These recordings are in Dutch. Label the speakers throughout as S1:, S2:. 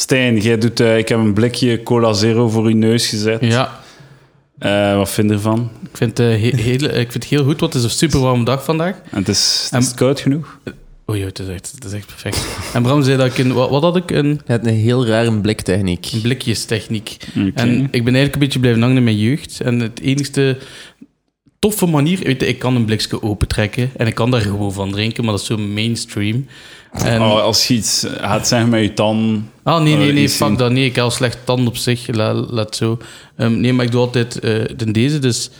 S1: Stijn, jij doet, eh, ik heb een blikje Cola Zero voor uw neus gezet.
S2: Ja,
S1: Eh, wat vind je ervan?
S2: ik vind, eh, he- hele- ik vind het heel goed, want het is een super warme dag vandaag.
S1: En het is, het is
S2: En-
S1: koud genoeg.
S2: Oei, oei, het is echt, het is echt perfect. En Bram zei dat ik een, wat, wat had ik? Een
S3: Je hebt een heel rare bliktechniek.
S2: blikjestechniek.
S1: Oké.
S2: En ik ben eigenlijk een beetje blijven hangen in mijn jeugd. En het enigste toffe manier, weet je, ik kan een blikje opentrekken en ik kan daar gewoon van drinken, maar dat is zo mainstream. En,
S1: Oh, als je iets gaat zeggen met je tanden.
S2: Ah, nee, nee,
S1: Eh,
S2: nee,
S1: iets zien.
S2: fuck dat. Nee, ik haal slecht tand op zich. La- Laat zo. Ehm, nee, maar ik doe altijd eh, de- deze, dus...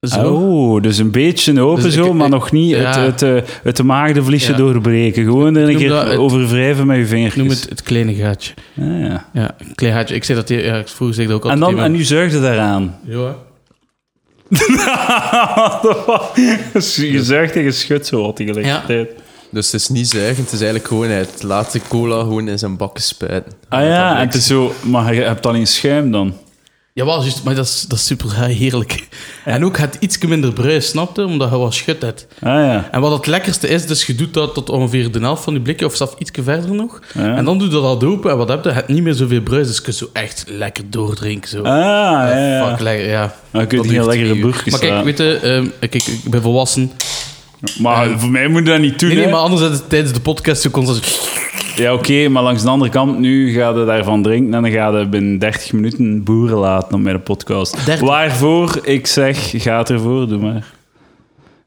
S2: Zo.
S1: Oh, dus een beetje open
S2: Dus ik-
S1: zo, maar
S2: ik-
S1: nog niet
S2: ja.
S1: het, het, eh, het maagdenvliesje
S2: Ja.
S1: doorbreken. Gewoon er een
S2: noem
S1: keer
S2: dat het-
S1: overwrijven met je
S2: Ik noem
S1: vingertjes.
S2: het het kleine gaatje.
S1: Ah, ja.
S2: Ja, een klein gaatje. Ik zei dat hier- ja, ik vroeger zei ik dat ook
S1: En,
S2: altijd.
S1: dan, en nu zuigde daaraan.
S2: nu... Ja.
S1: je zuigt en je schudt zo wat tegelijkertijd.
S3: Dus het is niet zuigend, het is eigenlijk gewoon het laten cola gewoon in zijn bakken spuiten.
S1: Ah ja, en het is zo, maar je hebt alleen schuim dan.
S2: Jawel, juist, maar dat is, dat is super heerlijk. En ook het iets minder bruis, snapte? Omdat je wat schut hebt.
S1: Ah ja.
S2: En wat het lekkerste is, dus je doet dat tot ongeveer de helft van die blikje, of zelfs iets verder nog.
S1: Ja.
S2: En dan doe je dat open en wat heb je? Je hebt niet meer zoveel bruis, dus je kunt zo echt lekker doordrinken. Zo.
S1: Ah ja, ja.
S2: Fuck, lekker, ja.
S1: Dan kun je
S2: Dat
S1: heel
S2: duurt
S1: lekkere
S2: drie uur.
S1: broekjes
S2: Maar kijk,
S1: aan.
S2: weet je, ehm, kijk, ik ben volwassen.
S1: Maar voor mij moet je dat niet doen.
S2: Nee, nee,
S1: hè.
S2: maar anders is het tijdens de podcast zo constant...
S1: Ja, oké, maar langs de andere kant, nu ga je daarvan drinken en dan ga je binnen 30 minuten boeren laten op mijn podcast.
S2: 30?
S1: Waarvoor ik zeg, ga het ervoor, doe maar.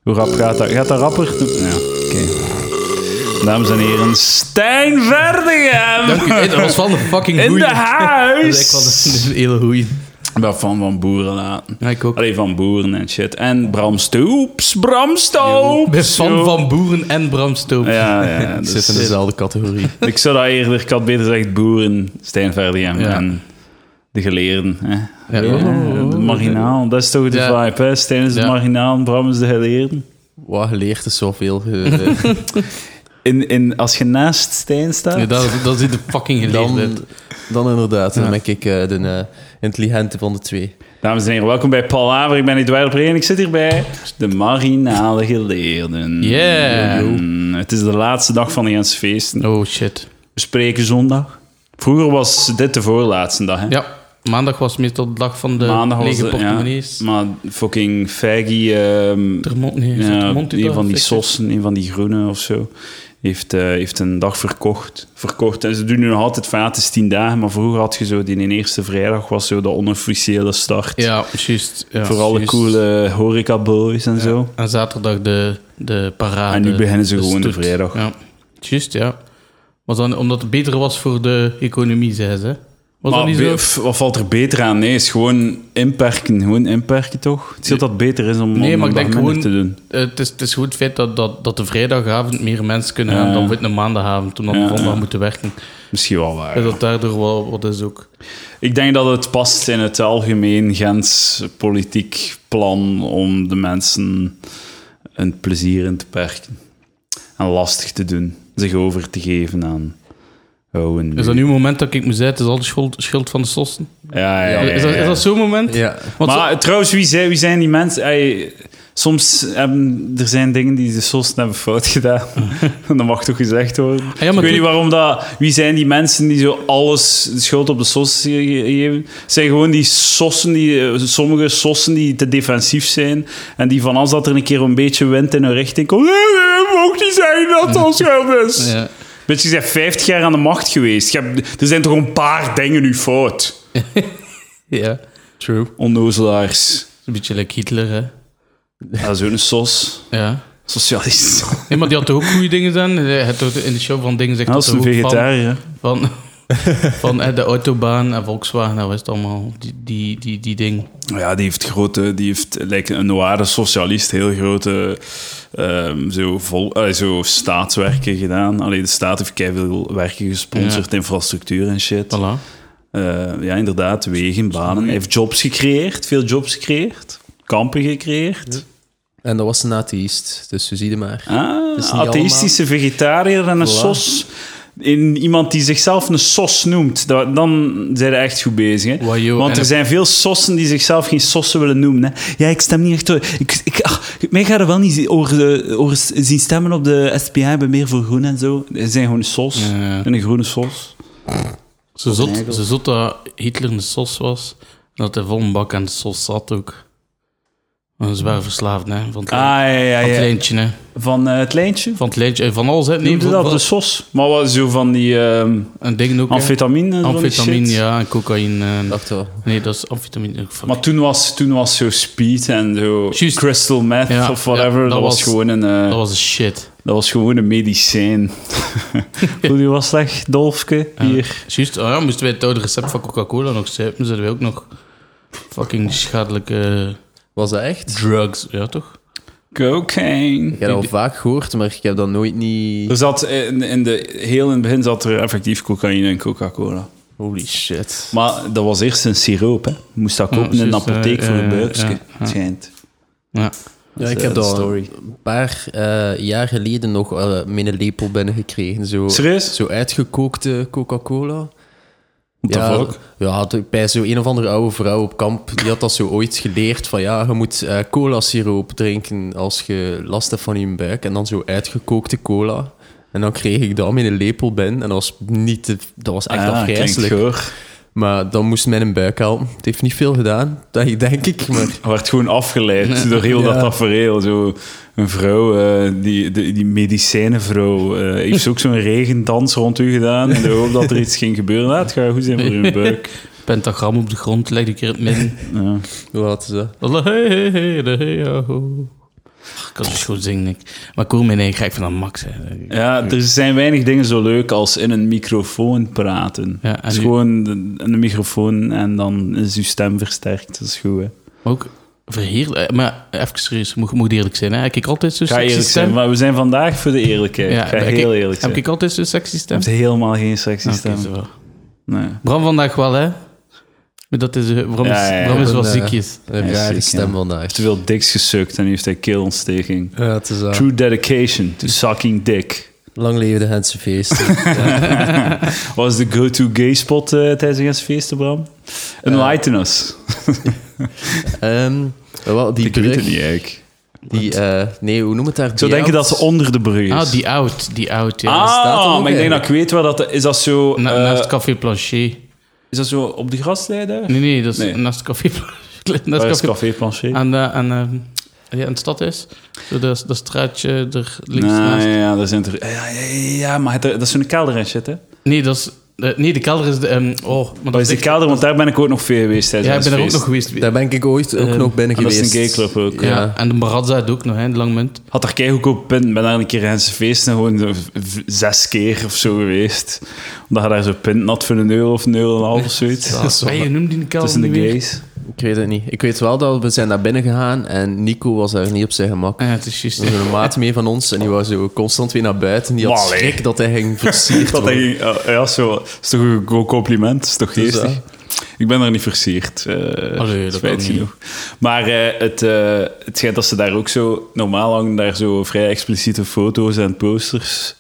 S1: Hoe rap gaat dat? Gaat dat rapper? Ja, oké. Dames en heren, Stijn
S2: Dank
S1: Verdegem!
S2: u, hey, dat was wel een fucking
S1: In
S2: goeie.
S1: de
S2: Dat is echt wel
S1: huis!
S2: een hele goeie.
S1: Ik ben fan van boeren laten.
S2: Ja, ik ook.
S1: Allee, van boeren en shit. En Bram Stoops, Bram Stoops!
S2: Ik ben fan
S1: joh.
S2: van Boeren en Bram Stoop.
S1: Ja, ja.
S3: Het
S1: dus-
S3: zit in dezelfde categorie.
S1: Ik zou dat eerder, ik had beter gezegd boeren, Stijn Verdegem
S2: Ja.
S1: en de geleerden. Hè.
S2: Ja.
S1: Ja, de marginaal, dat is toch de
S2: Ja.
S1: vibe, hè? Stijn is de
S2: Ja.
S1: marginaal, Bram is de geleerden.
S3: Wat geleerd is zoveel. eh,
S1: In, in, als je naast Stijn staat...
S2: Ja, dat, dat is de fucking geleerdheid.
S3: dan, dan inderdaad, dan ben ik eh, de eh, intelligente van de twee.
S1: Dames en heren, welkom bij Palaver. Ik ben Edouard Breen en ik zit hierbij. De marginale geleerden.
S2: Yeah.
S1: Mm, Het is de laatste dag van de Gens feesten.
S2: Oh shit.
S1: We spreken zondag. Vroeger was dit de voorlaatste dag, hè?
S2: Ja, maandag was meestal de dag van de
S1: Maandag was
S2: lege
S1: de-
S2: portemonnees.
S1: Ja, maar fucking Faggy... ehm,
S2: Er mond- nee, is dat
S1: Ja,
S2: er mond u
S1: een
S2: daar?
S1: van die
S2: Zeg-
S1: sossen, een van die groene of zo, heeft, eh, heeft een dag verkocht. verkocht. En ze doen nu nog altijd van ja, het is tien dagen, maar vroeger had je zo die in eerste vrijdag was zo de onofficiële start.
S2: Ja, juist. Ja,
S1: voor alle
S2: juist.
S1: coole horecaboys en zo.
S2: En zaterdag de, de parade.
S1: En nu beginnen ze
S2: de
S1: gewoon de
S2: stoet.
S1: vrijdag.
S2: Ja, juist, ja. Was dan, omdat het beter was voor de economie, zei ze. Was
S1: Maar
S2: dat niet
S1: Ah, be-
S2: zo?
S1: pff, wat valt er beter aan? Nee, is gewoon inperken. Gewoon inperken, toch? Het is dat dat beter is om, om
S2: Nee, maar
S1: een
S2: ik
S1: dag
S2: denk
S1: minder
S2: gewoon-
S1: te doen.
S2: Eh, Het is, het is goed feit dat, dat, dat de vrijdagavond meer mensen kunnen
S1: Ja.
S2: gaan dan op een maandagavond, omdat
S1: Ja,
S2: we zondag
S1: ja.
S2: moeten werken.
S1: Misschien wel waar.
S2: En dat daardoor wel wat is ook.
S1: Ik denk dat het past in het algemeen Gens politiek plan om de mensen een plezier in te perken. En lastig te doen. Zich over te geven aan... Oh, en
S2: Is dat nu het moment dat ik me zei, het is al de schuld, schuld van de sossen?
S1: Ja, ja, ja,
S2: Is dat,
S1: ja.
S2: is dat zo'n moment?
S3: Ja.
S2: Want zo-
S1: Maar trouwens, wie zijn, wie zijn die mensen? Ey, soms hebben, er zijn dingen die de sosten hebben fout gedaan. dat mag toch gezegd worden.
S2: Ah, ja, maar
S1: ik weet
S2: toen-
S1: niet waarom dat... Wie zijn die mensen die zo alles de schuld op de sossen ge- ge- geven? Het zijn gewoon die sossen, die, eh, sommige sossen die te defensief zijn. En die van als dat er een keer een beetje wind in hun richting komt... Nee, nee, je mag niet zeggen dat dat schuld is.
S2: Ja.
S1: Weet je, je bent 50 jaar aan de macht geweest. Je hebt- er zijn toch een paar dingen nu fout.
S2: ja, true.
S1: Onnozelaars.
S2: Een beetje like Hitler, hè.
S1: Dat is ook een sos.
S2: Ja.
S1: Socialist.
S2: Nee, maar die had toch ook goede dingen gedaan? Hij had toch in de show van dingen zegt
S1: Dat is
S2: hij
S1: een
S2: toch ook van-
S1: vegetariër.
S2: Van, van eh, de autobaan en Volkswagen, dat was het allemaal, die, die, die, die ding.
S1: Ja, die heeft grote, die heeft eh, lijkt een noire socialist, heel grote ehm, zo, vol, eh, zo staatswerken gedaan. Alleen de staat heeft keiveel werken gesponsord, infrastructuur en shit.
S2: Voilà.
S1: Eh, ja, inderdaad, wegen, banen. Hij heeft jobs gecreëerd, veel jobs gecreëerd, kampen gecreëerd.
S3: En dat was een atheïst, dus we zien het maar.
S1: Ah,
S3: is niet
S1: atheïstische vegetariër en een
S3: Voilà.
S1: sos. in iemand die zichzelf een sos noemt, da- dan zijn ze echt goed bezig. Hè?
S2: Wow, joh,
S1: Want
S2: en
S1: er
S2: het-
S1: zijn veel sossen die zichzelf geen sossen willen noemen. Hè? Ja, ik stem niet echt door. Ik, ik, ach, mij gaat er wel niet zi- over, eh, over s- zien stemmen op de SPA, ik ben meer voor groen en zo. Ze zijn gewoon sos.
S2: Ja.
S1: En een groene sos.
S2: Ze zot,
S1: Nagel.
S2: ze zot dat Hitler een sos was. En dat hij vol een bak aan de sos zat ook. Een zwaar verslaafd, hè? Van het,
S1: Ah,
S2: lijn-
S1: ja, ja,
S2: van het
S1: ja.
S2: lijntje, hè?
S1: Van eh, het lijntje?
S2: Van het lijntje. eh, Van alles, hè?
S1: Noemde
S2: van-
S1: dat de
S2: van-
S1: sos? Maar wat, zo van die ehm
S2: Een ding ook. hè.
S1: amfetamine? en zo van die
S2: Amfetamine,
S1: shit?
S2: ja. En cocaïne. eh,
S3: Ik dacht oh, wel.
S2: Nee, dat is amfetamine. ook van-
S1: Maar toen was, toen was zo speed en zo
S2: Juist.
S1: crystal meth
S2: Ja,
S1: of whatever.
S2: ja,
S1: dat,
S2: dat
S1: was
S2: was-
S1: gewoon een, eh,
S2: Dat was de shit.
S1: dat was gewoon een medicijn. Hoe die was leg, Dolfke? Hier.
S2: Juist, oh ja, moesten wij het oude recept van Coca-Cola nog zuipen, zouden wij ook nog fucking schadelijke
S3: Was dat echt?
S2: drugs. Ja, toch?
S1: Cocaine.
S3: Ik heb dat al vaak gehoord, maar ik heb dat nooit niet...
S1: Er zat in, in de, heel in het begin zat er effectief cocaïne en Coca-Cola.
S3: Holy shit.
S1: Maar dat was eerst een siroop, hè. Moest dat
S2: Ja,
S1: kopen in een
S2: juist, eh,
S1: apotheek voor een
S2: eh,
S1: buikje,
S2: ja, ja.
S1: schijnt.
S2: Ja.
S3: Ja, ik
S1: eh,
S3: heb
S1: de
S3: dat
S1: story.
S3: een paar eh, jaar geleden nog eh, mijn lepel binnengekregen. Zo,
S1: Serieus?
S3: Zo uitgekookte Coca-Cola.
S1: What the
S3: ja,
S1: fuck?
S3: ja, had- bij zo een of andere oude vrouw op kamp, die had dat zo ooit geleerd. Van ja, je moet eh cola-siroop drinken als je last hebt van je buik. En dan zo uitgekookte cola. En dan kreeg ik dat met een lepel binnen. En dat was, niet te- dat was echt
S1: Ah, klinkt
S3: afgrijzelijk.
S1: goor.
S3: Maar dan moest mijn buik helpen. Het heeft niet veel gedaan, dat denk ik. Maar
S1: werd gewoon afgeleid door heel dat
S3: Ja.
S1: tafereel. Zo, een vrouw, eh, die, die, die medicijnenvrouw, eh, heeft ze ook zo'n regendans rond u gedaan in de hoop dat er iets ging gebeuren. Nou, het gaat goed zijn voor uw buik.
S2: Pentagram op de grond, leg ik keer in het midden.
S1: Ja.
S3: wat is dat?
S2: Dat is hey, hey, hey, de hey, ja, ho. Ik kan dus goed zingen, ik. Maar ik hoor mijn eigen gek van dat max. Hè.
S1: ja, er zijn weinig dingen zo leuk als in een microfoon praten.
S2: Ja, en
S1: het is
S2: nu-
S1: gewoon de- een microfoon en dan is uw stem versterkt. Dat is goed, hè.
S2: Maar ook verheerlijk. eh, Maar even serieus, moet, moet eerlijk zijn. Hè. Heb ik altijd zo'n
S1: Ga
S2: sexy
S1: eerlijk zijn,
S2: stem?
S1: maar we zijn vandaag voor de eerlijkheid. Ga
S2: heb
S1: heel
S2: ik-
S1: eerlijk zijn.
S2: Heb ik altijd zo'n sexy
S1: Je
S2: stem?
S1: hebt helemaal geen sexy
S2: Oké,
S1: stem.
S2: zo wel.
S1: Nee.
S2: Bram vandaag wel, hè? Maar dat is... eh, Bram is,
S1: Ja, ja, ja.
S2: Bram is wel
S3: Ja.
S2: ziekjes.
S3: Een
S1: Ja,
S3: rare
S1: zeker.
S3: stem vandaag.
S1: Te veel diks gesukt en nu heeft hij keelontsteking.
S3: Ja, het is dat.
S1: True dedication to sucking dick.
S3: Lang leven de Hense feest.
S1: Was de go-to gay spot eh, tijdens de feesten, Bram? Enlighten
S2: Eh,
S1: us.
S3: Ehm, wel, die
S1: Ik weet het
S3: brug,
S1: niet eigenlijk.
S3: die, eh, nee, hoe noem het daar?
S1: Ik zou denken dat ze onder de brug is.
S2: Ah, die oud. Die oud, ja.
S1: Ah,
S3: staat er ook
S1: maar ik denk
S3: eigenlijk.
S1: dat ik weet waar dat... Is dat zo...
S2: Na,
S1: eh,
S2: naast Café Planchet.
S1: is dat zo op de graslijn daar?
S2: Nee, nee, dat is
S1: Nee. Oh,
S2: naast Café Planchet. Naast
S1: Waar is
S2: Café
S1: Café Planchet?
S2: Aan, de, aan, ehm, ja, aan het stadhuis. Zo dat, dat straatje er links
S1: Nou,
S2: naast.
S1: ja, daar zijn er... Ja, ja, ja, ja, maar het- dat is zo'n kelder en shit, hè?
S2: Nee, dat is... eh, nee, de kelder is de... ehm, oh, maar
S1: Dat is de
S2: echt-
S1: kelder, want daar ben ik ook nog veel geweest tijdens
S2: Ja, ik ben er ook nog
S1: feest.
S2: geweest.
S3: Daar ben ik ooit ook
S2: Ehm,
S3: nog binnen
S1: en dat is
S3: geweest.
S1: een gayclub ook,
S2: ja.
S3: Ja.
S2: en de Marazza had ook nog, hè, in Langmunt.
S1: Had daar keigoedkoop pin. Ben daar een keer aan zijn feest en gewoon zo v- v- zes keer of zo geweest. Omdat je daar zo pint had voor een euro of een euro en een half of zoiets.
S2: Dat is je noemt die kelder
S1: Tussen de
S2: niet meer?
S1: gays.
S3: Ik weet het niet. Ik weet wel dat we zijn naar binnen gegaan en Nico was daar niet op zijn gemak.
S2: Ah, ja, het is juist.
S3: Er was een maat mee van ons en die was zo constant weer naar buiten. Die had
S1: Wally.
S3: schrik dat hij ging versierd
S1: Dat
S3: worden.
S1: denk ik, ja, ja, zo, dat is toch een go- compliment? Dat is toch
S3: Dus,
S1: geestig?
S3: eh,
S1: ik ben er niet versierd. eh
S2: Allee, dat
S1: spijt
S2: kan niet.
S1: genoeg. Maar eh, het, eh, het schijnt dat ze daar ook zo... Normaal hangen daar zo vrij expliciete foto's en posters.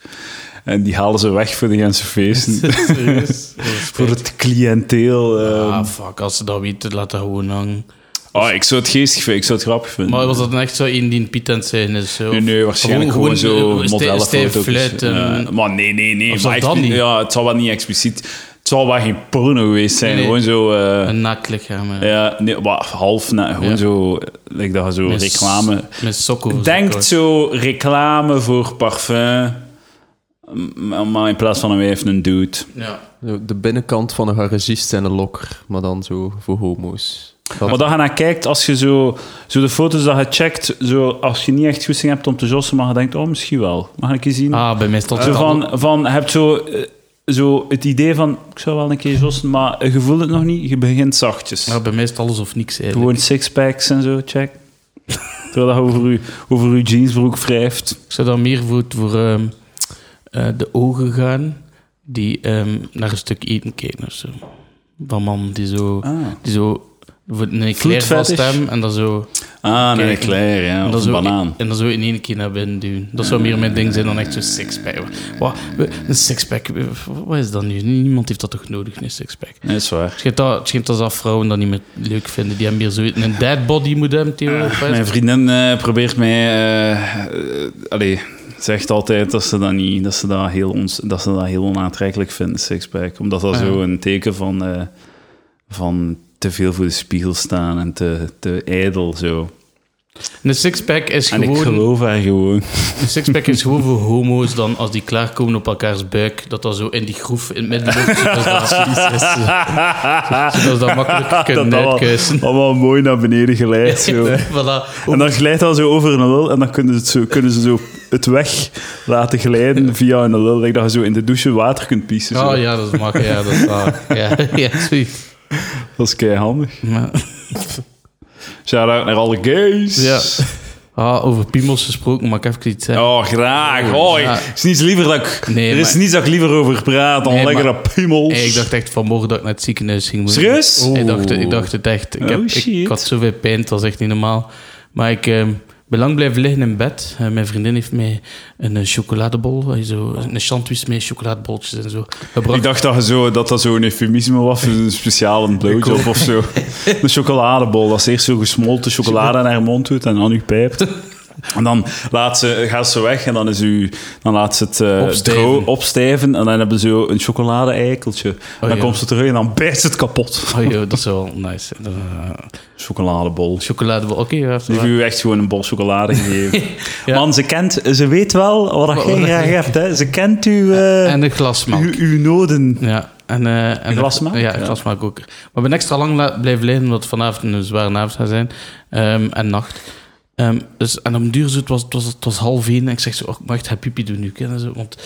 S1: En die halen ze weg voor de ganse feesten.
S2: Serieus.
S1: voor het cliënteel. eh.
S2: Ah, fuck, als ze dat weten, laat dat gewoon hangen.
S1: oh, ik zou het geestig vinden. Ik zou het grappig vinden.
S2: Maar was dat dan echt zo in die Piet aan het zijn is? Zo?
S1: Nee, nee, waarschijnlijk gewoon,
S2: eh,
S1: zo
S2: stij-
S1: modellenfoto's.
S2: stijf fluit, ehm,
S1: Ja, maar nee, nee, nee.
S2: of
S1: Maar
S2: zou dat
S1: expli-
S2: niet?
S1: Ja, het zal wel niet expliciet... Het zal wel geen porno geweest zijn.
S2: Nee, nee.
S1: Gewoon zo... eh,
S2: Een naakt lichaam. hè.
S1: ja, nee, maar half... na- gewoon
S2: Ja.
S1: zo... Ik dacht zo
S2: Met s-
S1: reclame...
S2: Met sokken. over
S1: Denkt
S2: elkaar.
S1: zo reclame voor parfum... m- Maar in plaats van een wijf, een dude.
S2: Ja.
S3: De binnenkant van een garagist en een lokker, maar dan zo voor homo's. Dat-
S1: Maar dat je naar kijkt, als je zo, zo de foto's dat je checkt, zo, als je niet echt goesting hebt om te jossen, maar je denkt, oh, misschien wel. Mag ik eens zien?
S2: Ah, bij mij stond
S1: Zo
S2: het al-
S1: van, van, je hebt zo, eh, zo het idee van, ik zou wel een keer jossen, maar je voelt het nog niet. Je begint zachtjes.
S2: Ja, bij mij is het alles of niks eigenlijk.
S1: Gewoon sixpacks en zo, check. Terwijl dat over je, over uw jeansbroek wrijft.
S2: Ik zou dan meer voor, voor ehm, eh, de ogen gaan die ehm, naar een stuk eten kijken of zo. Van man die zo,
S1: Ah.
S2: die zo voor een eclair
S1: Vloedvet is-
S2: vast hem en dan zo,
S1: Ah, een
S2: Kijk,
S1: eclair, ja.
S2: en
S1: Of
S2: dan
S1: een
S2: zo,
S1: banaan.
S2: en dan zo in één keer naar binnen duwen. Dat zou meer mijn ding zijn dan echt zo'n sixpack. Wat, een sixpack, eh, wat is dat nu? Niemand heeft dat toch nodig, een sixpack?
S1: Nee, Dat is waar.
S2: Het schijnt dat, het schijnt dat ze vrouwen dat niet meer leuk vinden. Die hebben meer zo een dead body moet hebben tegenover.
S1: Mijn vriendin eh, probeert mij... eh, eh, allee, zegt altijd dat ze dat niet... Dat ze dat heel, ons, dat ze dat heel onaantrekkelijk vindt, sixpack. Omdat dat
S2: Ah, ja.
S1: zo een teken van... eh, van te veel voor de spiegel staan en te, te ijdel, zo.
S2: Een sixpack is
S1: En ik
S2: gewoon...
S1: geloof haar gewoon.
S2: Een sixpack is gewoon voor homo's dan als die klaarkomen op elkaars buik, dat dat zo in die groef in het midden loopt, zodat ze dat, zodat ze dat makkelijk kunnen
S1: allemaal-
S2: uitkuisen.
S1: Allemaal mooi naar beneden geleid, zo.
S2: voilà.
S1: En dan glijdt dat zo over een lul en dan kunnen ze het, zo, kunnen ze zo het weg laten glijden via een lul. Like dat je zo in de douche water kunt pissen. zo.
S2: Oh ja, dat is makkelijk. Ja, dat is waar. Ja, ja, zoiets.
S1: Dat is keihandig.
S2: Maar-
S1: Shout-out naar alle gays.
S2: Ja. Ah, over piemels gesproken, maar ik even iets zeggen.
S1: Oh, graag. Oh,
S2: Ja.
S1: ik- is niets liever dat ik,
S2: Nee,
S1: er is
S2: maar-
S1: niets dat ik liever over praat dan
S2: Nee,
S1: lekkere
S2: maar-
S1: piemels.
S2: Hey, ik dacht echt vanmorgen dat ik naar het ziekenhuis ging moeten.
S1: Serieus?
S2: Ik,
S3: Oeh.
S2: dacht, ik dacht het echt. Ik,
S1: Oh,
S2: heb, ik,
S1: shit.
S2: ik had zoveel pijn, het was echt niet normaal. Maar ik ehm, ben lang blijven liggen in bed. Eh, mijn vriendin heeft mij een eh, chocoladebol, eh, zo, een sandwich met chocoladebolletjes en zo gebracht.
S1: Ik dacht dat, je zo, dat dat zo'n eufemisme was, voor een speciale blowjob of zo. Een chocoladebol, dat ze eerst zo gesmolten chocolade naar haar mond doet en dan u pijpt. En dan laat ze, gaat ze weg en dan, is u, dan laat ze het eh,
S2: Opstijven.
S1: droog- opstijven. En dan hebben ze zo een chocolade-eikeltje. dan
S2: Oh, ja.
S1: komt ze terug en dan bijt ze het kapot.
S2: Oh joh, dat is wel nice. zijn. Eh,
S1: Chocoladebol.
S2: chocoladebol, oké. ja,
S1: Die heeft u echt gewoon een bol chocolade gegeven.
S2: Ja.
S1: Man, ze kent, ze weet wel wat
S2: Wat-
S1: dat jij
S2: wat-
S1: graag hebt. Hè. Ze kent uw, eh,
S2: en een glas melk.
S1: uw, uw noden.
S2: Ja, en, eh en
S1: glasmaak?
S2: Ja, een
S1: Ja.
S2: glasmaak ook. Maar ik ben extra lang la- blijven liggen, omdat het vanavond een zware avond gaat zijn. Ehm, en nacht. Ehm, dus, en om duur zo, het was, het was, het was half één. En ik zeg zo, oh, ik mag echt haar pipi doen nu. hè. En zo, want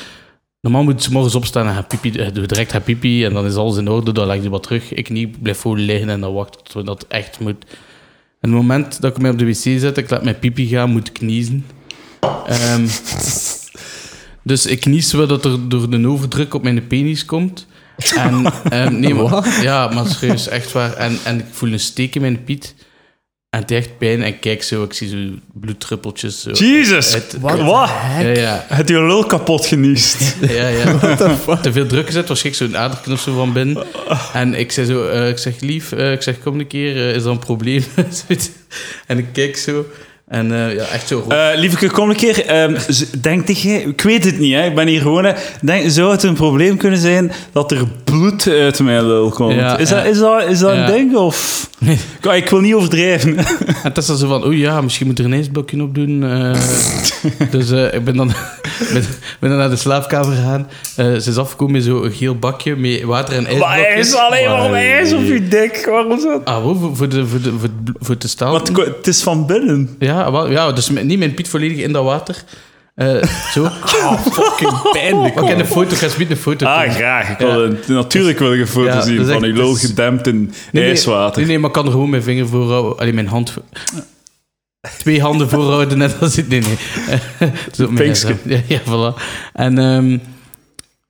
S2: normaal moet ze morgens opstaan en haar pipi, eh, doe direct haar pipi. En dan is alles in orde, dan leg je wat terug. Ik niet, ik blijf gewoon liggen en dan wacht tot dat echt moet. En het moment dat ik mij op de wc zet, ik laat mijn pipi gaan, moet ik kniezen. Ehm, dus ik knies wel dat er door de overdruk op mijn penis komt. En, ehm, nee, maar, ja, maar serieus, echt waar. En, en ik voel een steek in mijn piet. En het deed echt pijn. En ik kijk zo, ik zie zo bloeddruppeltjes. Zo.
S1: Jesus!
S2: Het-
S1: Wat?
S2: Ja, ja.
S1: Het je lul kapot geniest.
S2: Ja, ja. Te veel druk gezet, waarschijnlijk zo'n aderknop zo van binnen. En ik zei zo, eh, ik zeg lief, eh, ik zeg kom een keer, eh, is dat een probleem? Zoiets. en ik kijk zo, en eh, ja, echt zo rood.
S1: Eh lieveke, kom een keer. ehm, z- denk dat jij- ik weet het niet, hè, ik ben hier gewoon. hè. Denk, zou het een probleem kunnen zijn dat er bloed uit mijn lul komt?
S2: Ja,
S1: is, dat,
S2: ja.
S1: is dat, is dat
S2: Ja.
S1: een ding? Of... Kijk, ik wil niet overdrijven.
S2: En Tessa zo van, oei ja, misschien moet er een ijsblokje op doen. eh. dus eh, ik ben dan, ben, ben dan naar de slaapkamer gegaan. Eh, ze is afgekomen met zo'n geel bakje met water en
S1: maar
S2: ijsblokjes.
S1: hij is alleen maar op ijs op je dik. Waarom zo?
S2: Ah, wow, voor, voor, de, voor, de, voor, de- voor te staan.
S1: Want het ko- het is van binnen.
S2: Ja, wel, ja, dus met- niet mijn piet volledig in dat water. Eh, zo. fucking pijnlijk. Ik heb een foto, ik ga zo meteen een foto
S1: Ah,
S2: doen.
S1: graag. Ik
S2: Ja.
S1: wil een, natuurlijk wil ik een foto
S2: Ja,
S1: zien
S2: dat is
S1: van
S2: echt-
S1: uw lul
S2: dat is-
S1: gedempt in
S2: Nee, nee,
S1: ijswater.
S2: Nee, nee, maar ik kan er gewoon mijn vinger voor houden. Alleen mijn hand. voor- Twee handen voorhouden, net als dit. Nee, nee. Zo op mijn
S1: Pinkske.
S2: lijf. Ja, ja, voilà. En ehm,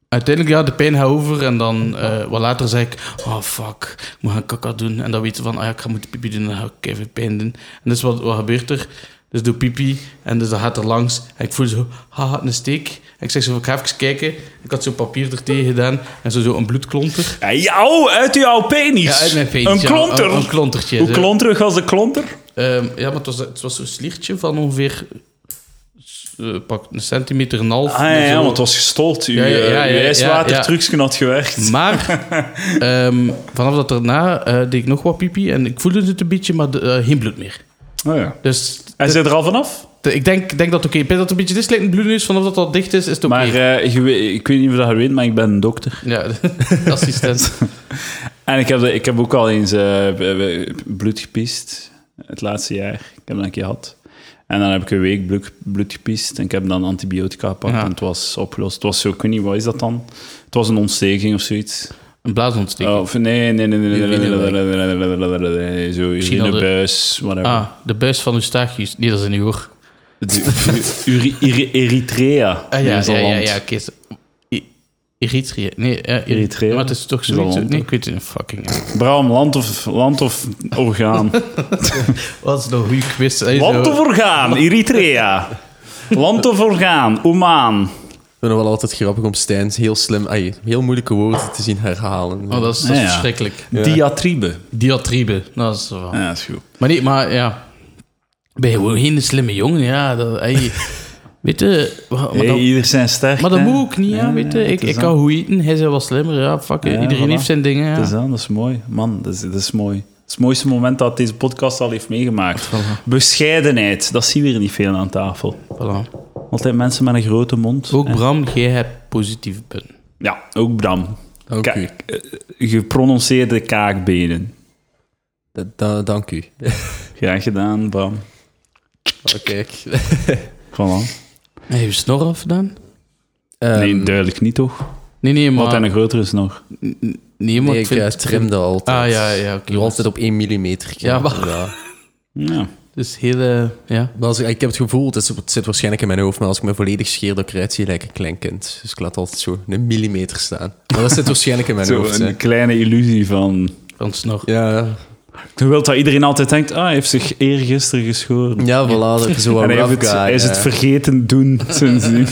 S2: uiteindelijk, ja, de pijn gaat over. En dan eh, wat later zei ik: Oh fuck, ik moet gaan kaka doen. En dan weet ze van: Ah ja, ik ga moeten pipi doen. En dan ga ik even pijn doen. En dus wat, wat gebeurt er? Dus doe pipi. En dus dat gaat er langs. En ik voel zo: Haha, een steek. En ik zeg zo: Ik ga even kijken. Ik had zo'n papier er tegen gedaan. En zo, zo een bloedklonter.
S1: Ja, jou, uit jouw penis.
S2: Ja, uit mijn penis,
S1: Een
S2: ja.
S1: klonter.
S2: Een, een klontertje.
S1: Hoe
S2: zo.
S1: klonterig was de klonter?
S2: Ehm, ja, maar het was, het was zo'n sliertje van ongeveer eh, pak een centimeter en een half.
S1: Ah ja, ja,
S2: Zo.
S1: want het was gestold. Uw,
S2: Ja, ja, ja,
S1: eh, uw
S2: ja, Mm. ja,
S1: ijswatertrucje had gewerkt.
S2: Maar ehm, vanaf dat daarna eh, deed ik nog wat pipi en ik voelde het een beetje, maar de- eh, geen bloed meer.
S1: Oh, ja.
S2: Dus
S1: Hij zit er al vanaf.
S2: de- ik denk, denk dat het oké is. Ik denk dat het een beetje dit lijkt een bloedneus, vanaf dat dat dicht is, is het oké.
S1: Maar eh, je we- ik weet niet of dat je weet, maar ik ben een dokter.
S2: Ja, assistent.
S1: En ik heb, de- ik heb ook al eens eh, b- b- bloed gepiest. Het laatste jaar. Ik heb dat een keer gehad. En dan heb ik een week bloed, bloed gepiest. En ik heb dan antibiotica gepakt.
S2: Ja.
S1: En het was opgelost. Het was zo, ik weet niet, wat is dat dan? Het was een ontsteking of zoiets.
S2: Een blaasontsteking.
S1: Oh, of- nee, nee, nee, nee, nee, nee, nee, nee,
S2: Urinebuik.
S1: nee, nee, nee, nee, nee, nee, nee, Zo,
S2: Misschien hadden-
S1: urinebuis, whatever.
S2: Ah, de buis van Eustachius. Nee, dat is in uw oor.
S1: De- Uri- Uri- Eritrea.
S2: Ah ja,
S1: is dat
S2: ja, ja,
S1: land.
S2: ja, oké. I- Eritrea. Nee, eh, Eritrea.
S1: Eritrea.
S2: Maar het is toch
S1: Dat is
S2: zoiets.
S1: al land,
S2: Nee,
S1: hè?
S2: ik weet het niet. Fucking. hell.
S1: Bram, land of, land of orgaan?
S2: Wat is nou een goede quiz? hè,
S1: land
S2: zo.
S1: of orgaan, Eritrea. Land of orgaan, Oman.
S3: Ik vind het wel altijd grappig om Stijn heel slim, ai, heel moeilijke woorden te zien herhalen.
S2: Oh, dat is, dat is
S1: Ja, ja.
S2: verschrikkelijk.
S1: Diatribe.
S2: Diatribe. Dat is wel.
S1: Ja, dat is goed.
S2: Maar nee, maar ja. Ben je gewoon geen slimme jongen, ja. Dat, ey. weet je, wa- maar,
S1: Hey,
S2: dat,
S1: ieder zijn sterk.
S2: maar dat
S1: hè.
S2: moet ook niet, ja. Weet je, ik,
S1: het is
S2: ik
S1: aan.
S2: kan goed eten, hij is wel slimmer, ja. Fuck, it,
S1: Ja,
S2: iedereen
S1: voilà.
S2: heeft zijn dingen, ja.
S1: Het is aan, dat is mooi. Man, dat is, dat is mooi. Het is het mooiste moment dat deze podcast al heeft meegemaakt. Bescheidenheid, dat zien we hier niet veel aan tafel.
S2: Voilà.
S1: Altijd mensen met een grote mond.
S2: Ook Bram, jij hebt positieve punten.
S1: Ja, ook Bram.
S3: Dank
S1: Ka-
S3: u.
S1: eh, geprononceerde kaakbenen.
S3: Da- da- dank u.
S1: Graag gedaan, Bram.
S3: Oh, kijk.
S1: Voilà.
S2: Heb je snor afgedaan?
S1: nee,
S3: Ehm,
S1: duidelijk niet, toch?
S2: Nee, nee,
S1: Wat
S2: maar...
S1: een grotere is nog.
S2: Nee, maar
S3: nee,
S2: ik
S3: ik
S2: vind...
S3: eh, trimde altijd.
S2: Ah, ja, ja, oké.
S3: Ik doe altijd op 1 mm.
S2: Ja, maar-
S1: Ja.
S2: Dus heel... eh, ja.
S3: Maar als ik, ik heb het gevoel, het, is, het zit waarschijnlijk in mijn hoofd, maar als ik me volledig scheer, dan krijg je lijkt een klein kind. Dus ik laat altijd zo een millimeter staan. Maar dat zit waarschijnlijk in mijn
S1: Zo
S3: hoofd.
S1: een
S3: hè.
S1: kleine illusie van...
S2: Van snor.
S3: Ja,
S1: Je wilt dat iedereen altijd denkt, ah, hij heeft zich eergisteren geschoren.
S3: ja, voilà, dat is zo
S1: en
S3: een
S1: hij,
S3: rough
S1: heeft het,
S3: guy,
S1: hij is
S3: ja.
S1: het vergeten doen sindsdien.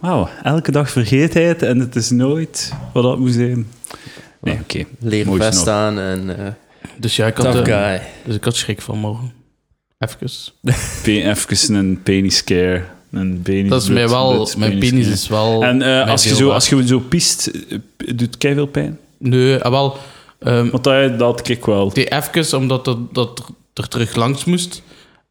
S1: Wauw, elke dag vergeet hij het en het is nooit wat dat moet zijn. Nee, oké.
S3: Leren
S1: Mooi
S3: vast
S1: snor.
S3: aan en... eh
S2: Dus ja, ik had...
S3: tough
S2: eh,
S3: guy.
S2: dus ik had schrik van morgen. Even.
S1: Pe- Even een peniscare. Een penis
S2: Dat is mij wel... Mijn penis is wel...
S1: En eh,
S2: mij
S1: als, je
S2: heel
S1: zo,
S2: waard.
S1: als je zo piest, eh, p- doet kei veel pijn.
S2: Nee, ah, wel... ehm,
S1: Want dat, dat had ik wel.
S2: Die even, omdat dat, dat er terug langs moest.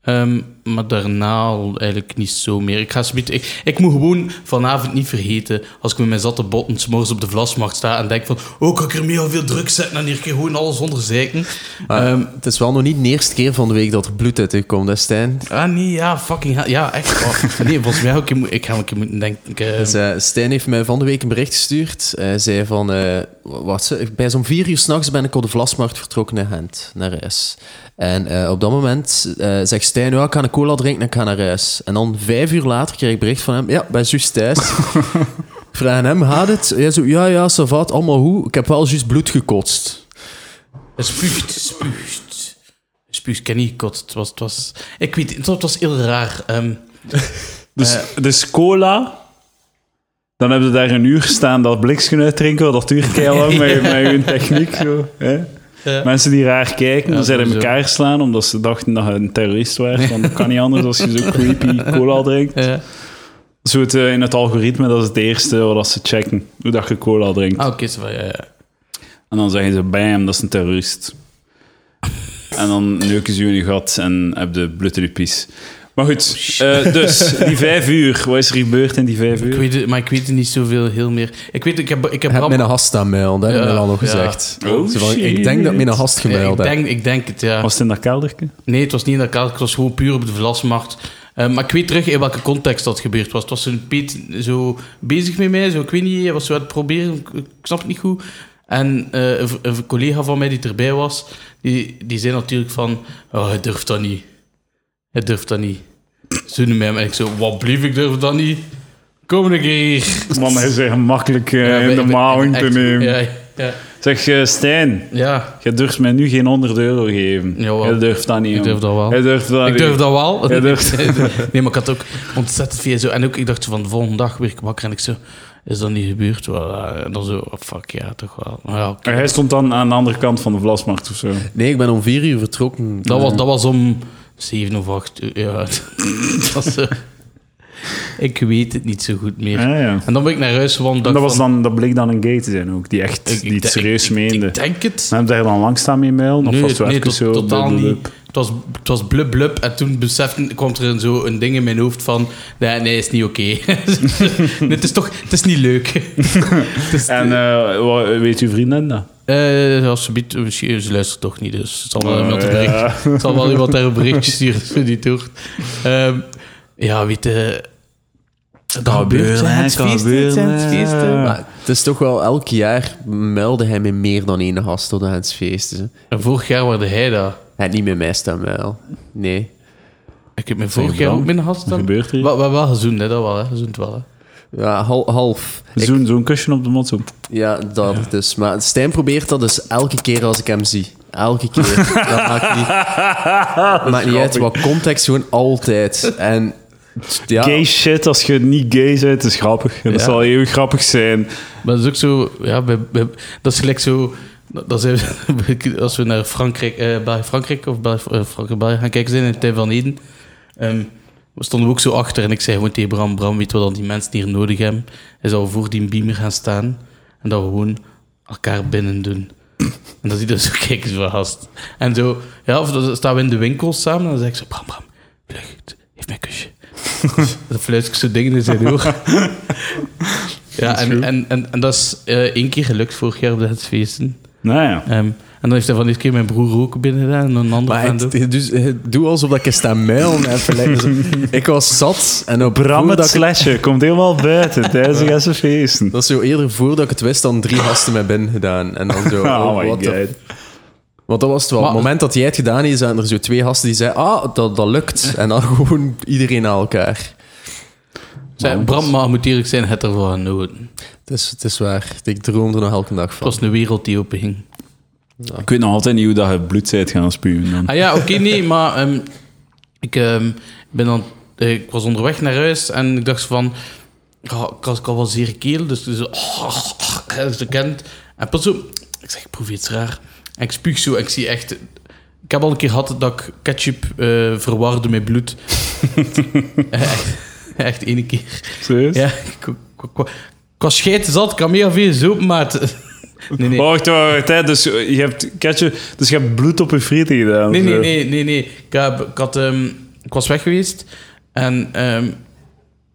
S2: Ehm, maar daarna al eigenlijk niet zo meer. Ik, ga zometeen- ik, ik moet gewoon vanavond niet vergeten, als ik met mijn zatte botten s'morgens op de vlasmarkt sta en denk van, oh, kan ik er meer veel druk zetten en hier kan ik gewoon alles onder zeiken.
S3: Maar
S1: Ehm,
S3: het is wel nog niet de eerste keer van de week dat er bloed uit u komt, hè, Stijn?
S2: Ah, nee, ja, fucking hell. Ja, echt. Oh, nee, volgens mij ook. Ik, moet- ik ga een keer moeten denken... eh,
S3: Dus, eh, Stijn heeft mij van de week een bericht gestuurd. Hij zei van, eh, wat, ze- bij zo'n vier uur s'nachts ben ik op de Vlasmarkt vertrokken naar Gent, naar huis. En eh, op dat moment eh, zegt Stijn, ja, ik ga een cola drinken en ik ga naar huis. En dan vijf uur later kreeg ik bericht van hem, ja, ik ben juist thuis. Ik Vraag aan hem, gaat het? Hij zo, ja, ja, savat, allemaal hoe? Ik heb wel juist bloed gekotst.
S2: Het spuugt, spuugt. Het Spuugt, ik heb niet gekotst. Het was, het was... Ik weet niet, het was heel raar. Ehm,
S1: Dus,
S2: Eh.
S1: dus cola. Dan hebben ze daar een uur staan dat bliksken uitdrinken. Dat duurt kei lang met, met hun techniek. Zo, hè?
S2: Ja.
S1: Mensen die raar kijken,
S2: Ja,
S1: dan zijn in
S2: sowieso.
S1: elkaar slaan omdat ze dachten dat je een terrorist was. Want dat kan niet anders als je zo creepy cola drinkt.
S2: eh,
S1: Zo het, eh, in het algoritme, dat is het eerste wat dat ze checken. Hoe dat je cola drinkt.
S2: ah, oké, zo van, ja, ja.
S1: En dan zeggen ze, bam, dat is een terrorist. En dan neuken ze je in je gat en heb je bloed in je pies. Maar goed, eh, dus, die vijf uur. Wat is er gebeurd in die vijf uur?
S2: Oh, Ik weet het, maar ik weet het niet zoveel heel meer. Ik weet, ik heb, ik heb,
S3: Ik heb
S2: Bram-
S3: mijn hast gemeld, dat heb ik
S2: Ja,
S3: mij al nog
S2: ja.
S3: gezegd.
S1: Oh,
S3: Zo van, ik
S1: shit.
S3: denk dat ik mijn hast
S2: Ja,
S3: gemeld
S2: Eh, ik,
S3: heb.
S2: denk, ik denk het, ja.
S1: Was het in dat kelderke?
S2: Nee, het was niet in dat kader. Het was gewoon puur op de vlasmarkt. Eh, maar ik weet terug in welke context dat gebeurd was. Het was een Piet zo bezig met mij. Zo, ik weet niet, hij was zo aan het proberen. Ik, ik snap het niet goed. En eh, een, v- een collega van mij die erbij was, die, die zei natuurlijk van... Oh, hij durft dat niet. Hij durft dat niet. Zo noemde hij hem. En ik zo, wat blief, ik durf dat niet. Kom een keer.
S1: Man, hij is echt makkelijk eh,
S2: Ja,
S1: in de
S2: ik ben-
S1: maling
S2: echt-
S1: te nemen.
S2: Ja, ja,
S1: Zeg, eh, Stijn,
S2: ja.
S1: jij durft mij nu geen 100 euro geven.
S2: Jawel.
S1: Jij durft dat niet,
S2: Ik durf dat wel.
S1: Hij durft dat
S2: Ik
S1: niet.
S2: durf dat wel.
S1: Ah, Jij durft-
S2: nee, maar ik had ook ontzettend veel zo. En ook, ik dacht zo van de volgende dag weer ik wakker en ik zo, is dat niet gebeurd? Voilà. En dan zo, oh, fuck ja, toch wel. Maar Ja, oké.
S1: En Hij stond dan aan de andere kant van de vlasmarkt of zo.
S3: Nee, ik ben om vier uur vertrokken.
S2: dat, was, dat was om zeven of acht uur. Ja, dat was zo. Ik weet het niet zo goed meer.
S1: Ah, Ja, ja.
S2: En dan ben ik naar huis gewandeld.
S1: En dat,
S2: dacht
S1: was
S2: van,
S1: dan, dat bleek dan een gay te zijn ook, die echt
S2: ik- ik
S1: die het
S2: denk-
S1: serieus
S2: ik- ik-
S1: meende.
S2: Ik denk het.
S1: En hebben daar dan lang staan mee mailen? Of was het wel
S2: nee,
S1: even
S2: tot-
S1: zo?
S2: totaal
S1: blub, blub,
S2: niet. Het was, het was blub blub en toen besefte, kwam er een- zo een ding in mijn hoofd van, nee, nee, is niet oké. nee, het is toch, het is niet leuk. Het is-
S1: blub? En eh, wat- weet uw vriendin dat?
S2: Eh, als ze biedt, eh, ze ze luistert toch niet, dus het zal wel, iemand, een
S1: Eh,
S2: bericht,
S1: ja.
S2: het zal wel iemand daar een berichtje sturen als ze niet hoort. Ehm, ja, weet je... Dat gebeurt,
S1: gebeuren,
S2: hè, het
S1: kan
S2: feest, het zijn het
S1: gebeuren,
S2: feesten.
S1: ja.
S2: Maar-
S3: Maar het is toch wel elk jaar meldde hij me meer dan één gast tot aan het feest. Dus, hè.
S2: en vorig jaar waarde hij daar.
S3: hij had niet met mij staan wel. Nee.
S2: Ik heb me
S1: Zeg
S2: vorig jaar
S1: dan,
S2: ook binnen gehad
S1: Wat
S2: dan.
S1: gebeurt hier?
S2: Wel, wel, wel gezoend, hè, dat wel, hè. Gezoend wel, hè.
S3: Ja, hal- half. Ik-
S1: Zo'n zo'n kusje op de mond. Zo.
S3: ja, dat dus. Maar Stijn probeert dat dus elke keer als ik hem zie. Elke keer. dat maakt niet, maakt niet uit. Wat context, gewoon altijd. En ja,
S1: Gay shit, als je niet gay bent, is grappig. En dat
S2: Ja.
S1: zal eeuwig grappig zijn.
S2: Maar dat is ook zo, ja, bij, bij- dat is gelijk zo. Dat zijn, we- als we naar Frankrijk, eh, België- Frankrijk of België- eh, Frankrijk, België gaan kijken, zijn in de tuin van Eden. ehm, we stonden we ook zo achter en ik zei gewoon tegen Bram: Bram, weet wat dan die mensen hier nodig hebben? Hij zal voor die beamer gaan staan en dat we gewoon elkaar binnen doen. En dat hij dus zo kijkt, is wel gast. En zo, ja, of dan staan we in de winkel samen en dan zeg ik zo: Bram, Bram, vlucht, geef mij een kusje. dan fluit ik zo dingen in zijn oor. Ja, en, en, en, en dat is eh, één keer gelukt vorig jaar op de feesten. Ehm,
S1: Nou ja.
S2: en dan heeft hij van dit keer mijn broer ook binnen gedaan en een ander
S3: Maar
S2: vriend
S3: het,
S2: ook.
S3: het, dus, het- doe alsof dat ik sta mijlen en verleden. Dus ik was zat en op
S1: Bram
S3: voordat
S1: het
S3: ik-
S1: slashje komt helemaal buiten tijdens de gasten feesten.
S3: Dat is zo eerder voordat ik het wist dan drie gasten mij binnen gedaan. En dan zo,
S1: Oh,
S3: oh,
S1: my
S3: what the-
S1: god.
S3: Want dat was het wel.
S2: Maar-
S3: Op het moment dat jij het gedaan heeft, zijn er zo twee gasten die zeiden, ah, dat, dat lukt. En dan gewoon iedereen aan elkaar.
S2: Zei, Bram, maar moet eerlijk zijn, het ervan genoten.
S3: Het is, het is waar. Ik droom er nog elke dag
S2: Het
S3: van.
S2: was een wereld die openging.
S1: Ik weet nog altijd niet hoe dat je bloed bent gaan spuwen. Dan.
S2: Ah ja, oké, nee, maar ehm, ik, ehm, ben dan, eh, ik was onderweg naar huis en ik dacht zo van... ja, ik was ik had wel zeer keel, dus dus, oh, oh, oh, hè, ze kent. En pas zo... Ik zeg, ik proef iets raar. En ik spuug zo en ik zie echt... Ik heb al een keer gehad dat ik ketchup eh, verwarde met bloed. echt, echt één keer.
S1: Serieus?
S2: Ja, ik, ik, ik- ik was scheid zat, ik had meer veel zoop, maar... het- Nee, nee.
S1: Oh, Wacht, wacht, wacht, hè. Dus eh, je hebt, ketje, dus je hebt bloed op je frieten gedaan.
S2: Nee, nee,
S1: zo.
S2: nee, nee. nee. Ik, heb, ik, had, ehm, ik was weg geweest en ehm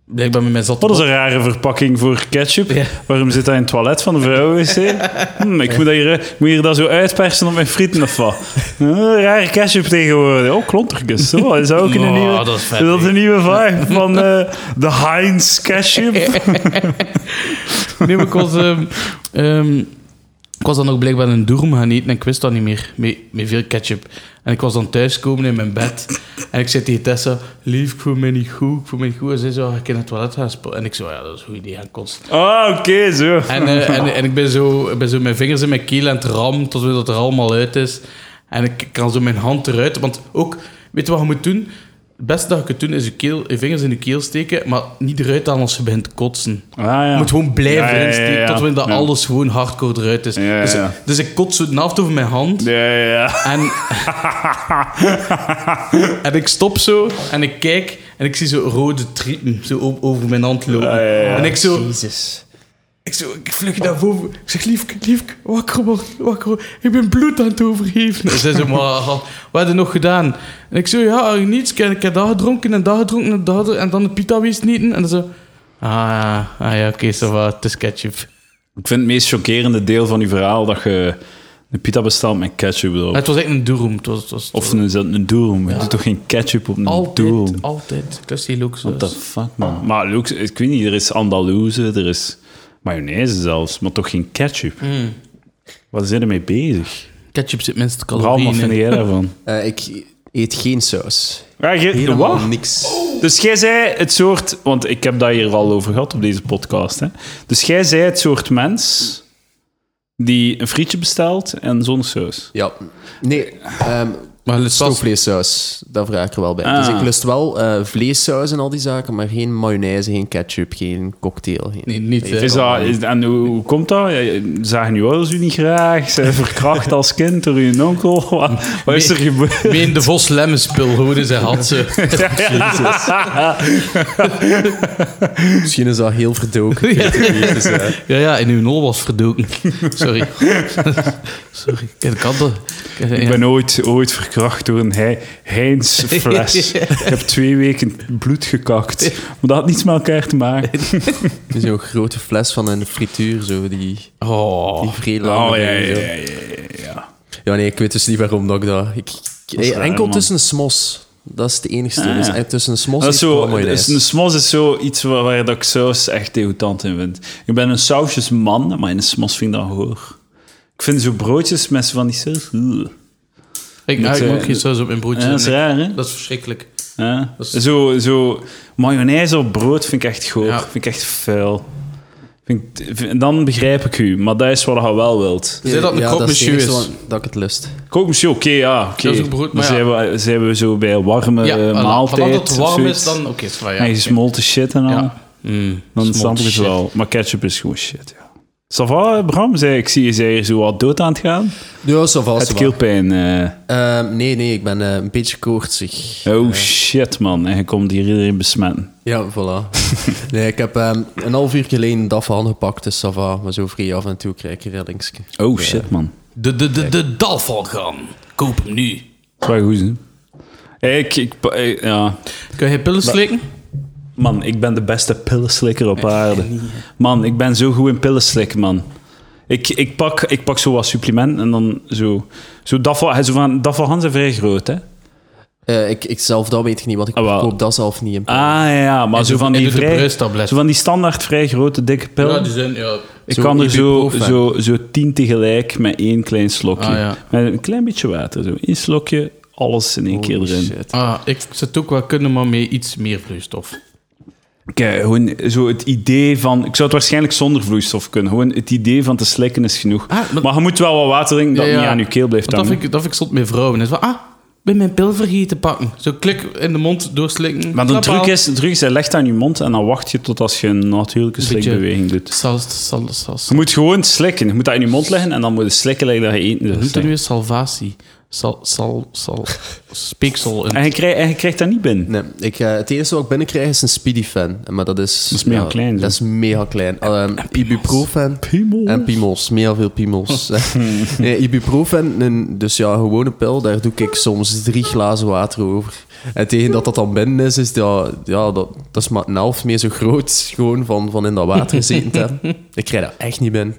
S2: blijkbaar met mijn zatte
S1: Wat Oh, is een rare verpakking voor ketchup.
S2: Ja.
S1: Waarom zit dat in het toilet van de vrouwenwc? Hm, ik moet dat hier, eh, moet hier dat zo uitpersen op mijn frieten of wat? Hm, rare ketchup tegenwoordig. Oh, klontertjes. Zo, dat is ook een
S2: Oh,
S1: nieuwe...
S2: dat is vet,
S1: dat is
S2: hè.
S1: een nieuwe vibe van eh, de Heinz ketchup.
S2: bot. Nee, maar ik was... ehm, ehm, ik was dan ook blijkbaar een doerm gaan eten en ik wist dat niet meer, met, met veel ketchup. En ik was dan thuiskomen in mijn bed en ik zei tegen Tessa, lief, ik voel me niet goed, ik voel me niet goed. En zij zo, "Ah, ik in het toilet gaan spelen. En ik zo, ja, dat is een goed idee, gaan kosten.
S1: Ah, oké, zo.
S2: En, eh, en, en ik ben zo, ik ben zo mijn vingers in mijn keel aan het rammen tot het er allemaal uit is. En ik kan zo mijn hand eruit. Want ook, weet je wat je moet doen? Het beste dat je kunt doen is je, keel, je vingers in je keel steken, maar niet eruit aan als je begint te kotsen.
S1: Ah, ja.
S2: Je moet gewoon blijven
S1: Ja, ja, ja,
S2: erin steken
S1: ja.
S2: tot wanneer dat
S1: Ja.
S2: alles gewoon hardcore eruit is.
S1: Ja,
S2: dus,
S1: ja.
S2: dus ik kots zo de helft over mijn hand.
S1: Ja, ja, ja.
S2: En, en ik stop zo en ik kijk en ik zie zo rode triepen zo o- over mijn hand lopen.
S1: Ja, ja, ja.
S2: En ik zo,
S3: Jezus.
S2: ik, zo, ik vlug naar boven. Ik zeg, liefke, liefke, wakker worden, wakker worden. Ik ben bloed aan het overgeven. En zij zo, maar ah, wat heb je nog gedaan? En ik zo, ja, niets. Ik, heb- ik heb dat gedronken en dat gedronken en dat gedronken. En dan de pita wees niet. En dan zo, ah, ja, ah ja, oké, zo wat, het is ketchup.
S1: Ik vind het meest chockerende deel van je verhaal dat je een pita bestelt met ketchup erop.
S2: Maar het was echt een doeroem. Het was, het was, het
S1: Of
S2: was
S1: is dat een doelroom? Je doet toch geen ketchup op een
S2: altijd,
S1: doelroom?
S2: altijd. Ik was heel ook zo.
S1: What the fuck, man? Ah, Maar Lux, ik weet niet, er is Andalouse, er is mayonaise zelfs, maar toch geen ketchup? Wat zijn er mee bezig?
S2: Ketchup zit minstens
S1: Bram, wat
S2: calorieën
S1: vind
S2: in.
S1: jij daarvan?
S3: Eh, ik eet geen saus.
S1: Ja, je,
S3: Helemaal
S1: wat?
S3: niks.
S2: Oh.
S1: Dus jij zei het soort... Want ik heb dat hier al over gehad op deze podcast. Hè. Dus jij zei het soort mens die een frietje bestelt en zonder saus.
S3: Ja. Nee, ehm
S2: Maar het was-
S3: stoofvleessaus. Dat vraag ik er wel bij.
S1: Ah.
S3: Dus ik lust wel eh vleessaus en al die zaken, maar geen mayonaise, geen ketchup, geen cocktail. Geen...
S2: Nee, niet. hè.
S1: Is dat, is- en hoe, hoe komt dat? Zagen uw ouders u niet graag? Zijn verkracht als kind door uw onkel? Wat, wat is er gebeurd?
S2: Ween de Vos lemmenspul, gewoon in zijn hand. zo.
S3: Misschien is dat heel verdoken. Ik weet het niet, dus, eh,
S2: Ja, ja, in uw nol was verdoken. Sorry. Sorry, ik kan dat. Ik- eh,
S1: Ik
S2: ja.
S1: ben ooit, ooit verkracht door een Hei- Heinz-fles. Ik heb twee weken bloed gekakt. Maar dat had niets met elkaar te maken.
S3: Zo'n grote fles van een frituur, zo, die, die
S2: Oh.
S3: vrij lang.
S1: Oh, ja, ja,
S3: zo.
S1: ja, ja, ja.
S3: Ja, nee, ik weet dus niet waarom dat ik dat... Ik, ik-
S1: is
S3: eh,
S1: raar,
S3: enkel
S1: man.
S3: tussen smos. Dat is het enigste.
S1: Ah,
S3: Dus
S1: ja.
S3: eh, tussen een smos
S1: Dat is
S3: en
S1: zo, is,
S3: mayonaise.
S1: een smos is zo iets waar, waar dat ik saus echt degotant in vind. Ik ben een sausjesman, maar in een smos vind ik dat hoor. Ik vind zo broodjes met zo van die saus... Ugh.
S2: Ik
S1: Met,
S2: maak
S1: eh,
S2: ook geen saus op mijn broodje.
S1: Ja, dat is raar, hè?
S2: Dat is verschrikkelijk.
S1: Hè?
S2: Dat is-
S1: Zo, zo mayonaise op brood vind ik echt goor.
S2: Ja.
S1: Vind ik echt vuil. Vind ik- vind- dan begrijp ik u, maar dat is wat je wel wilt.
S2: Zei dat een
S3: ja,
S2: croque
S3: dat is het
S2: monsieur
S3: enige
S2: is?
S3: wat- dat ik het lust.
S1: Kook misschien, oké, ja. oké.
S2: Dat is ook brood, maar
S1: Dan
S2: ja.
S1: zijn, we, zijn we zo bij een warme
S2: Ja,
S1: eh,
S2: voilà.
S1: maaltijd.
S2: Vanaf dat het
S1: of
S2: warm is,
S1: zoiets.
S2: dan... Oké, het is wel, ja.
S1: En gesmolten shit en al.
S2: Ja. Mm,
S1: Dan
S2: smolten
S1: snap ik het
S2: shit.
S1: wel. Maar ketchup is gewoon shit, ja. Ça va, Bram? Zij- Ik zie je zij hier zo wat dood aan het gaan.
S3: Ja, zo vast.
S1: Het keelpijn. eh.
S3: nee, nee, ik ben eh, een beetje koortsig.
S1: oh shit, man. En je komt hier iedereen besmetten.
S3: Ja, voilà. nee, ik heb ehm, een half uur geleden DAF aangepakt, dus ça va. Maar zo vrij af en toe krijg ik een reddingske.
S1: Oh shit, man.
S2: De, de, de, de dalvalgan. Koop hem nu.
S1: Dat is wel goed, hè? Ik, ik, pa- eh, ja.
S2: Kun je pillen slikken?
S1: Man, ik ben de beste pillenslikker op aarde. Man, ik ben zo goed in pillenslikken, man. Ik, ik, pak, ik pak zo wat supplement en dan zo... Zo daffel, hij zo van, daffelhans zijn vrij groot, hè?
S3: Eh, ik, ik zelf, dat weet ik niet, want ik
S1: Ah, wel.
S3: koop dat zelf niet in.
S1: Ah, ja, maar
S2: Hij
S1: zo
S2: doet-
S1: van
S2: hij
S1: die
S2: doet de
S1: vrij...
S2: breustablet.
S1: Zo van die standaard vrij grote, dikke pillen.
S2: Ja, dus die zijn... Ja.
S1: ik
S3: zo
S1: kan er zo,
S3: ibuprofen.
S1: zo, zo tien tegelijk met één klein slokje.
S2: Ah, ja.
S1: Met een klein beetje water, zo. Eén slokje, alles in één keer
S3: Holy
S1: erin.
S3: shit.
S2: Ah, ik zou het ook wel kunnen, maar met iets meer vloeistof.
S1: Kijk, eh, gewoon zo het idee van... Ik zou het waarschijnlijk zonder vloeistof kunnen. Gewoon het idee van te slikken is genoeg.
S2: Ah,
S1: maar,
S2: maar-
S1: je moet wel wat water drinken dat
S2: Ja, ja.
S1: niet aan je keel blijft
S2: Dat
S1: hangen.
S2: vind, ik, dat vind ik zot met vrouwen. Is van, ah, ik ben mijn pil vergeten pakken. Zo klik in de mond, doorslikken.
S1: Maar de
S2: klap
S1: truc,
S2: aan.
S1: is, de truc is, hij legt aan je mond en dan wacht je tot als je een natuurlijke
S2: Een beetje-
S1: slikbeweging doet.
S2: Sal, sal, sal,
S1: Je moet gewoon slikken. Je moet dat in je mond leggen en dan moet je slikken like dat je eten
S2: Hoe
S1: doet.
S2: Noemt dat nu eens salvatie? Sal, sal, sal, speeksel. In.
S1: En je, krijgt, en je krijgt dat niet binnen.
S3: Nee, ik, eh, het enige wat ik binnenkrijg is een Speedy fan. Maar dat is...
S1: Dat is mega
S3: ja,
S1: klein, zo.
S3: Dat is mega klein. Al, ehm, ibuprofen.
S1: Piemel.
S3: En piemels. Mega veel piemels. nee, ibuprofen, een, dus ja, een gewone pil, daar doe ik soms drie glazen water over. En tegen dat dat dan binnen is, is dat, ja, dat, dat is maar een half meer zo groot gewoon van, van in dat water gezeten te hebben. Ik krijg dat echt niet binnen.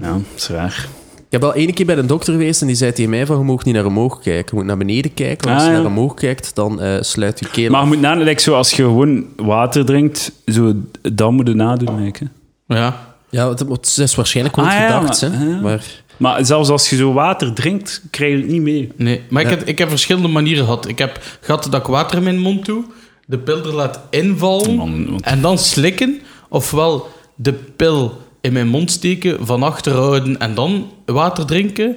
S1: Ja, dat is raar.
S3: Ik heb wel ene keer bij een dokter geweest en die zei tegen mij van, je mag niet naar omhoog kijken. Je moet naar beneden kijken. Want als je
S1: Ah, ja.
S3: naar omhoog kijkt, dan eh, sluit je keel
S1: Maar je moet nadenken, like, zo, als je gewoon water drinkt, zo, dan moet je nadoen. like, hè.
S2: Ja.
S3: Ja, het, het is waarschijnlijk wel
S1: Ah, ja,
S3: gedacht,
S1: maar-
S3: hè.
S1: ja.
S3: Maar
S1: Maar zelfs als je zo water drinkt, krijg je het niet mee.
S2: Nee, maar ik, heb, ik heb verschillende manieren gehad. Ik heb gehad dat ik water in mijn mond doe, de pil er laat invallen
S1: Man, wat-
S2: en dan slikken. Ofwel de pil in mijn mond steken, van achter houden en dan water drinken.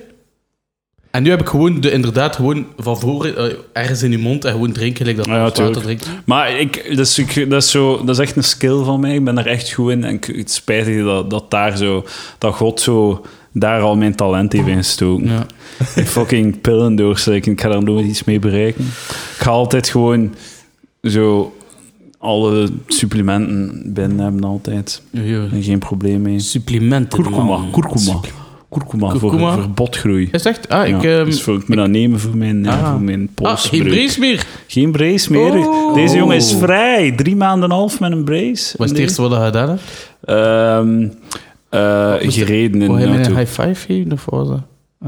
S2: En nu heb ik gewoon de, inderdaad gewoon van voren eh, ergens in je mond en gewoon drinken, gelijk dat
S1: Ah, ja,
S2: ik water
S1: tuurlijk.
S2: drinkt.
S1: Maar ik, dat, is, ik- dat, is zo, dat is echt een skill van mij. Ik ben daar echt goed in. En ik, het spijt me dat, dat, daar zo, dat God zo daar al mijn talent heeft in gestoken.
S2: Ja.
S1: Ik fucking pillen doorslikken. Ik ga daar nooit iets mee bereiken. Ik ga altijd gewoon zo alle supplementen binnen hebben altijd. En geen probleem mee.
S2: Supplementen.
S1: Kurkuma,
S2: man.
S1: kurkuma. Kurkuma voor,
S2: Kurkuma?
S1: voor botgroei.
S2: Is het echt? Ah,
S1: Ja,
S2: ik... ehm,
S1: dus voor, ik moet dat nemen voor mijn, eh,
S2: Ah.
S1: voor mijn
S2: ah,
S1: polsbreuk.
S2: geen brace meer.
S1: Geen brace meer.
S2: Oh.
S1: Deze jongen is vrij. Drie maanden en een half met een brace.
S2: Wat is het
S1: Nee.
S2: eerste wat je gedaan hebt?
S1: Ehm, eh, gereden in
S2: Wou
S1: de
S2: hij mij een
S1: auto.
S2: high five geven of wat was dat?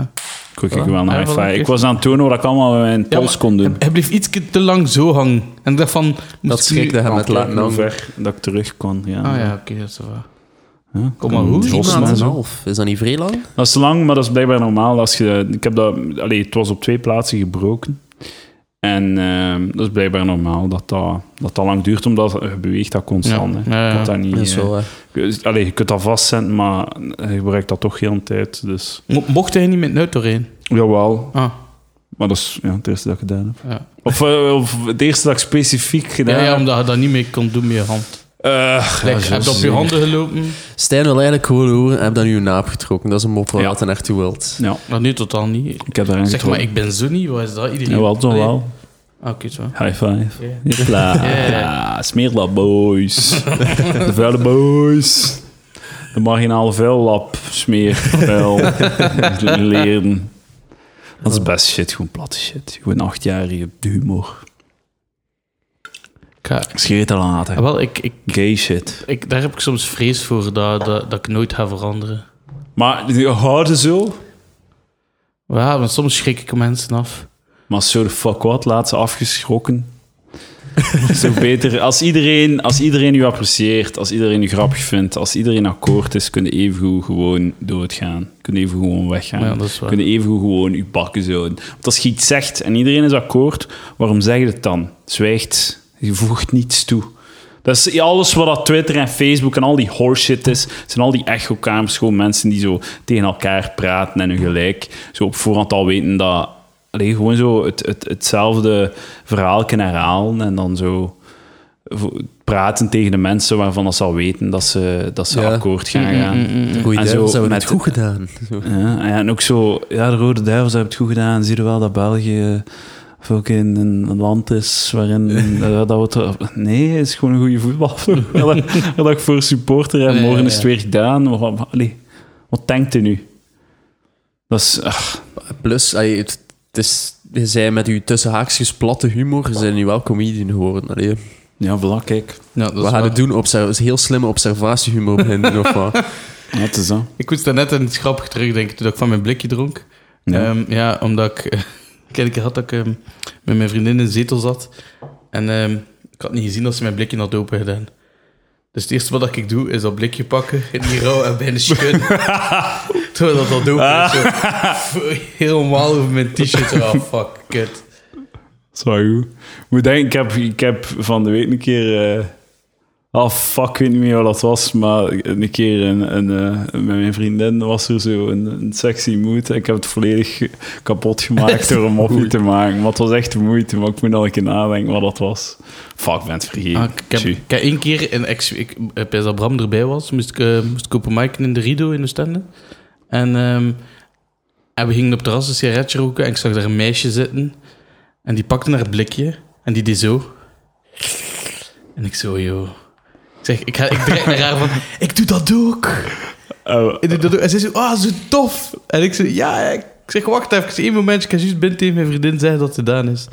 S1: Ik wou kijken wel een
S2: Ah,
S1: high
S2: wel een
S1: five. Ik
S2: keer.
S1: was aan het tonen wat ik allemaal met mijn pols kon doen.
S2: Hij, hij bleef iets te lang zo hangen. En ik dacht van... moest
S3: dat
S2: ik nu-
S3: schrik dat je
S1: Ik
S3: met
S1: wou
S3: laten
S1: kijken hoe
S3: hangen.
S1: ver dat ik terug kon. Ja.
S2: Ah ja, oké, dat is wel.
S1: Ja,
S2: Kom maar, hoe?
S1: Drie
S3: Drie
S1: maanden
S3: maanden en
S1: zo.
S3: een half. Is dat niet vrij lang?
S1: Dat is lang, maar dat is blijkbaar normaal. Als je, ik heb dat, allee, het was op twee plaatsen gebroken. En ehm, dat is blijkbaar normaal dat dat, dat dat lang duurt, omdat je beweegt dat constant.
S2: Ja,
S1: hè.
S2: ja, ja.
S1: Je kunt dat niet...
S3: Dat is
S1: eh,
S3: wel, eh,
S1: je- Allee, je kunt dat vastzetten, maar je gebruikt dat toch heel een tijd. Dus.
S2: Mo- mocht hij niet met een auto rijden?
S1: Jawel,
S2: Ah,
S1: maar dat is ja, het eerste dat ik gedaan heb.
S2: ja.
S1: Of, eh, of het eerste dat ik specifiek gedaan
S2: Ja, ja,
S1: heb.
S2: omdat je dat niet meer kon doen met je hand.
S1: Eh,
S2: Like,
S1: ja,
S2: heb je
S1: zo
S2: op je
S1: zeer.
S2: handen gelopen?
S3: Stijn wil eigenlijk gewoon horen, heb dan nu een naap getrokken. Dat is een mop waar
S1: Ja.
S3: je naartoe wilt.
S1: Ja,
S2: Maar nu totaal niet.
S1: ik heb daarin
S2: Zeg maar, ik ben zo niet. Wat is dat? Iedereen...
S1: Jawel, toch
S2: Allee.
S1: wel.
S2: Ah, oké, zo.
S1: High five.
S2: Ja.
S1: Hopla.
S2: Ja.
S1: Ja, smeer dat, boys. De vuile boys. De marginale vuillap. Smeer, vuil. Leren. Dat is best shit, gewoon platte shit. Gewoon achtjarige humor.
S2: Ik ga-
S1: Ik scheet er al aan.
S2: Ah,
S1: hè.
S2: Wel, ik, ik,
S1: Gay shit.
S2: ik, daar heb ik soms vrees voor dat, dat, dat ik nooit ga veranderen.
S1: Maar die houden zo.
S2: Ja, want soms schrik ik mensen af.
S1: Maar zo de fuck wat, laat ze afgeschrokken. zo beter. Als iedereen, als iedereen u apprecieert, als iedereen u grappig vindt, als iedereen akkoord is, kun je evengoed gewoon doodgaan. Kun je evengoed gewoon weggaan.
S2: Ja, dat is waar.
S1: Kun je evengoed gewoon uw bakken zouden. Want als je iets zegt en iedereen is akkoord, waarom zeg je het dan? Zwijgt. Je voegt niets toe. Dat is alles wat dat Twitter en Facebook en al die horseshit is. zijn al die echokamers, gewoon mensen die zo tegen elkaar praten en hun gelijk. Zo op voorhand al weten dat... Allee, gewoon zo het, het, hetzelfde verhaal kunnen herhalen en dan zo vo- praten tegen de mensen waarvan dat ze al weten dat ze, dat ze
S3: Ja.
S1: akkoord gaan gaan.
S3: mm. Goeie
S1: En
S3: duivels
S1: zo
S3: hebben we
S1: met-
S3: het goed gedaan. Zo.
S1: Ja, en ook zo, ja, de Rode Duivels hebben het goed gedaan. Zie je wel dat België ook in een land is waarin eh, dat we het- Nee, het is gewoon een goede voetbalploeg. Waar dat- waar dat ik voor supporter en
S2: Ja,
S1: morgen
S2: ja,
S1: is het
S2: ja.
S1: weer gedaan. Maar wat, allee, wat denkt u nu? Dat is... ah, ach,
S3: Plus, allee, het, het is, je zei met uw tussenhaakjes platte humor, ze zijn nu wel comedian geworden. Allee,
S1: ja, vlak, kijk.
S2: Ja, dat
S3: we
S2: is
S3: gaan
S2: waar.
S3: het doen, obser- is heel slimme observatiehumor beginnen of wat.
S1: Ja, het is dat.
S2: Ik moest daarnet aan iets grappig terugdenken toen ik van mijn blikje dronk.
S1: Ja.
S2: Ja, ja omdat ik... eh, Ik had een keer had dat ik ehm, met mijn vriendin in de zetel zat. En ehm, ik had niet gezien dat ze mijn blikje had open gedaan. Dus het eerste wat ik doe, is dat blikje pakken, in die rouw en bijna schudden. Terwijl dat al open is. Zo, helemaal over mijn t-shirt. Ah, fuck, kut.
S1: Sorry. hoe. Moet denken, ik heb, ik heb van de week een keer. eh ah, fuck, ik weet niet meer wat dat was. Maar een keer een, een, eh, met mijn vriendin was er zo een, een sexy mood. Ik heb het volledig ge- kapot gemaakt door een mopje te maken. Maar het was echt de moeite. Maar ik moet nog een keer nadenken wat dat was. Fuck, ik ben het vergeten.
S2: Ah, ik, heb,
S1: Tjoe.
S2: ik heb één keer, in ex, ik, eh, bij dat Bram erbij was, moest ik, eh, moest ik open micen in de Rido in de standen. En, ehm, en we gingen op het terras een sigaretje roken en ik zag daar een meisje zitten. En die pakte haar blikje en die deed zo. En ik zo, joh. Ik zeg, ik, ga, ik dreig naar haar van, ik doe dat ook.
S1: Eh,
S2: Ik doe dat ook. En zij zo, ah, zo tof. En ik zo, ja, ja." ik zeg, wacht even, één momentje, ik ga juist binnen tegen mijn vriendin zeggen dat het gedaan is.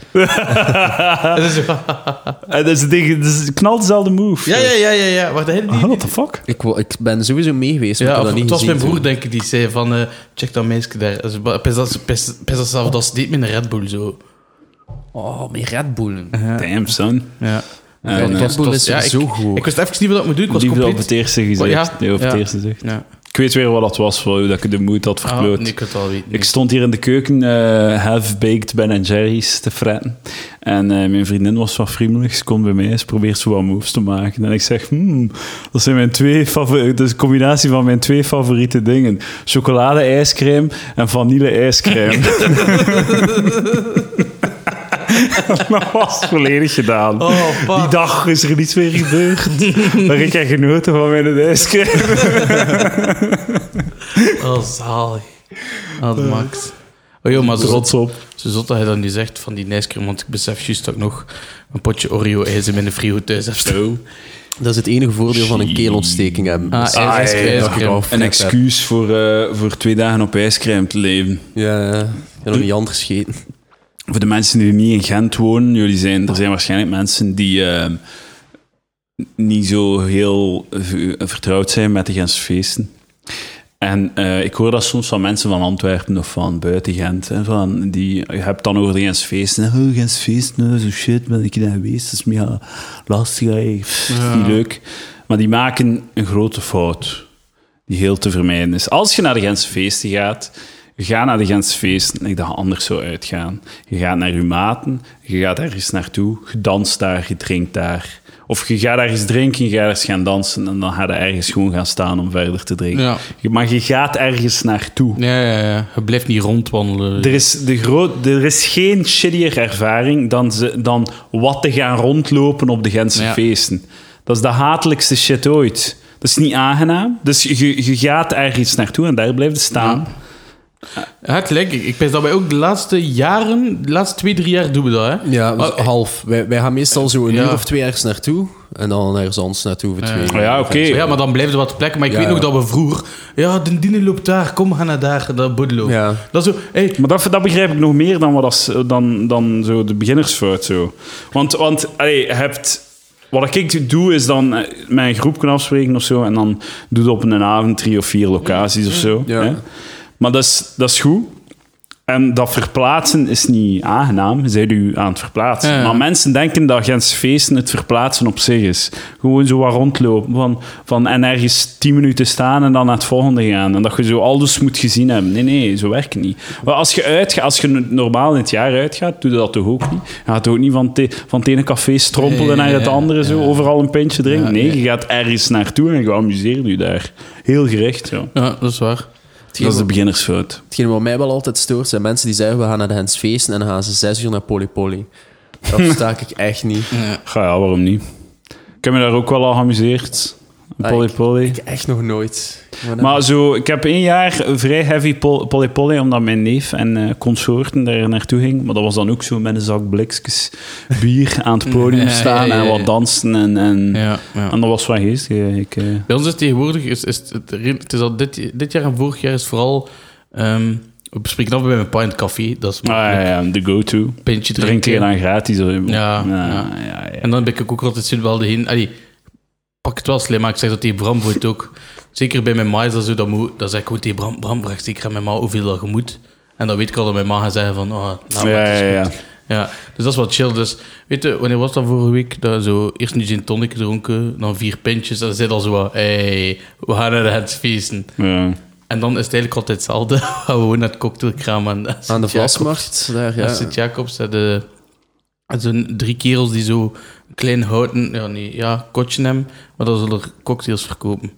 S2: en ze zo,
S1: eh, dat is het ding, dat is knalt dezelfde move.
S2: ja, ja, ja, ja, ja. Maar dat
S1: Ah, what the fuck?
S3: ik, wou- ik ben sowieso mee geweest, maar ik
S2: Ja, of
S3: heb dat
S2: het
S3: niet
S2: was
S3: gezien.
S2: mijn broer, denk ik, die zei van... eh, check dat meisje daar. Dus, ba- Pis dat ze- pis- pis dat ze af, dat ze deed met een Red Bull, zo.
S3: Oh, mijn Red Bullen.
S1: Damn, son.
S2: Ja.
S1: En,
S3: Red
S1: eh,
S2: was-
S3: Bull
S2: het was-
S3: is
S2: ja,
S3: zo goed.
S2: Ik wist even niet wat ik moet doen. Ik was
S1: die op
S2: compleet... Oh,
S1: het eerste gezicht.
S2: Ja,
S1: die op het
S2: ja.
S1: eerste gezicht.
S2: Ja.
S1: Ik weet weer wat dat was, hoe dat ik de moed had
S2: Ah,
S1: verkloot.
S2: nee, ik kan het al weten.
S1: Ik stond hier in de keuken eh half-baked Ben Jerry's te fretten. En eh, mijn vriendin was wat vriendelijk. Ze komt bij mij, ze probeert zo wat moves te maken. En ik zeg, hmm, dat zijn mijn twee favoriete... Dat is een combinatie van mijn twee favoriete dingen. Chocolade-ijscrème en vanille-ijscrème. dat was volledig gedaan.
S2: Oh, fuck.
S1: Die dag is er niets meer gebeurd. maar ik heb genoten van mijn ijscrème.
S2: Oh, zalig. Oh, dat maakt. Oh joh, maar zo
S1: Trots
S2: zot,
S1: op.
S2: zo zot dat hij dan nu zegt van die ijscreme, want ik besef juist dat ik nog een potje Oreo-ijs in mijn frigo thuis heb staan.
S3: Dat is het enige voordeel van een keelontsteking hebben.
S2: Ah,
S3: Dus-
S2: eh,
S1: Ah,
S2: ijs-
S1: ja,
S2: ijscreme.
S1: dat ik al Een
S3: heb.
S1: excuus voor, eh, voor twee dagen op ijscrème te leven.
S3: Ja, ja. Ik heb nog niet anders gegeten.
S1: Voor de mensen die niet in Gent wonen, jullie zijn, er zijn waarschijnlijk mensen die eh, niet zo heel eh, vertrouwd zijn met de Gentse feesten. En eh, ik hoor dat soms van mensen van Antwerpen of van buiten Gent. Hè, van die, je hebt dan over de Gentse feesten. Oh, Gentse feesten, eh, zo shit, ben ik daar geweest. Dat is mega lastig, eh, pff, niet leuk. Maar die maken een grote fout die heel te vermijden is. Als je naar de Gentse feesten gaat, ga naar de Gentse feesten. Ik dacht anders zou uitgaan. Je gaat naar je maten, je gaat ergens naartoe, je danst daar, je drinkt daar. Of je gaat ergens drinken, je gaat ergens gaan dansen en dan ga je ergens gewoon gaan staan om verder te drinken.
S2: Ja.
S1: Je- Maar je gaat ergens naartoe.
S2: Ja, ja, ja. Je blijft niet rondwandelen.
S1: Er is, de groot, er is geen shittier ervaring dan, ze, dan wat te gaan rondlopen op de Gentse
S2: Ja.
S1: feesten. Dat is de hatelijkste shit ooit. Dat is niet aangenaam. Dus je, je gaat ergens naartoe en daar blijft je staan.
S2: Ja, het lijkt. Ik, ik pens dat wij ook de laatste jaren, de laatste twee, drie jaar doen we dat, hè.
S1: Oh,
S2: Ah,
S3: Ja,
S2: Maar-
S1: eh,
S3: half. Wij, wij gaan meestal zo een
S2: Ja.
S3: uur of twee ergens naartoe. En dan ergens anders naartoe voor twee.
S1: Ja, oké.
S2: Ja, maar dan blijft er wat plek. Maar ik
S3: Ja,
S2: weet nog
S3: ja.
S2: dat we vroeger... Ja, de dine loopt daar. Kom, ga naar daar. Dat boedelo.
S3: Ja.
S2: Dat zo... Hey,
S1: Maar dat, dat begrijp ik nog meer dan, wat als, dan, dan zo de beginnersfout. Zo. Want, want allee, je hebt, wat ik doe, is dan eh, met een groep kunnen afspreken of zo. En dan doe je op een avond drie of vier locaties of zo.
S3: Ja.
S1: Hè? Maar dat is, dat is goed. En dat verplaatsen is niet aangenaam. Zij u aan het verplaatsen.
S2: Ja, ja.
S1: Maar mensen denken dat Gens feesten het verplaatsen op zich is. Gewoon zo wat rondlopen. Van, van en ergens tien minuten staan en dan naar het volgende gaan. En dat je zo alles moet gezien hebben. Nee, nee, zo werkt het niet. Maar als je, uitga, als je no- normaal in het jaar uitgaat, doe je dat toch ook niet? Je gaat ook niet van, te- van het ene café strompelen
S2: Nee,
S1: naar het
S2: ja,
S1: andere. Zo,
S2: ja.
S1: Overal een pintje drinken.
S2: Ja,
S1: nee,
S2: nee.
S1: je gaat ergens naartoe en je amuseert je daar. Heel gericht, ja.
S2: Ja, dat is waar.
S1: Dat is de beginnersfout.
S3: Hetgeen wat mij wel altijd stoort, zijn mensen die zeggen we gaan naar de Hens feesten en dan gaan ze zes uur naar Polly Polly. Dat versta ik echt niet.
S1: Ga ja, waarom niet? Ik heb me daar ook wel al geamuseerd. Een
S3: Ah,
S1: Polly Polly.
S3: Ik echt nog nooit.
S1: Maar zo, ik heb één jaar vrij heavy pol- Polly Polly, omdat mijn neef en eh, consorten daar naartoe ging. Maar dat was dan ook zo met een zak blikjes bier aan het podium
S2: Ja,
S1: staan
S2: ja, ja,
S1: en
S2: ja.
S1: wat dansen. En, en,
S2: Ja, ja.
S1: en dat was wel geestig. eh, Ik, eh.
S2: Bij ons is tegenwoordig, is, is het, re- het is al dit, dit jaar en vorig jaar is vooral, ehm we bespreken af bij mijn pint koffie, dat is
S1: Ah, ja,
S2: makkelijk.
S1: ja, de go-to.
S2: pintje drinken.
S1: Drink je dan gratis. hoor.
S2: Ja, ja.
S1: ja, ja.
S2: En dan ben ik ook altijd zin wel de heen, allee, pak het wel slim, maar ik zeg dat tegen Bram voor het ook. Zeker bij mijn ma is dat zo, dat, moet, dat zeg ik gewoon tegen Bram, Bram bracht zeker aan mijn ma hoeveel dat je moet. En dan weet ik al dat mijn ma gaat zeggen van, oh, nou, maar
S1: Ja,
S2: het is
S1: ja, ja.
S2: goed. Ja, dus dat is wat chill. Dus weet je, wanneer was dat vorige week? Dat zo, eerst een gin tonic gedronken, dan vier pintjes. En dan zit al zo wat, hey, we gaan naar het feesten.
S1: Ja.
S2: En dan is het eigenlijk altijd hetzelfde. We gaan gewoon naar het cocktailkraam aan,
S3: Aan de vlasmarkt, daar
S2: Ja.
S3: ja.
S2: Sint-Jacobs hadden eh, zo'n drie kerels die zo een klein houten, ja, nee, ja, kotje hebben, maar dan zullen er cocktails verkopen.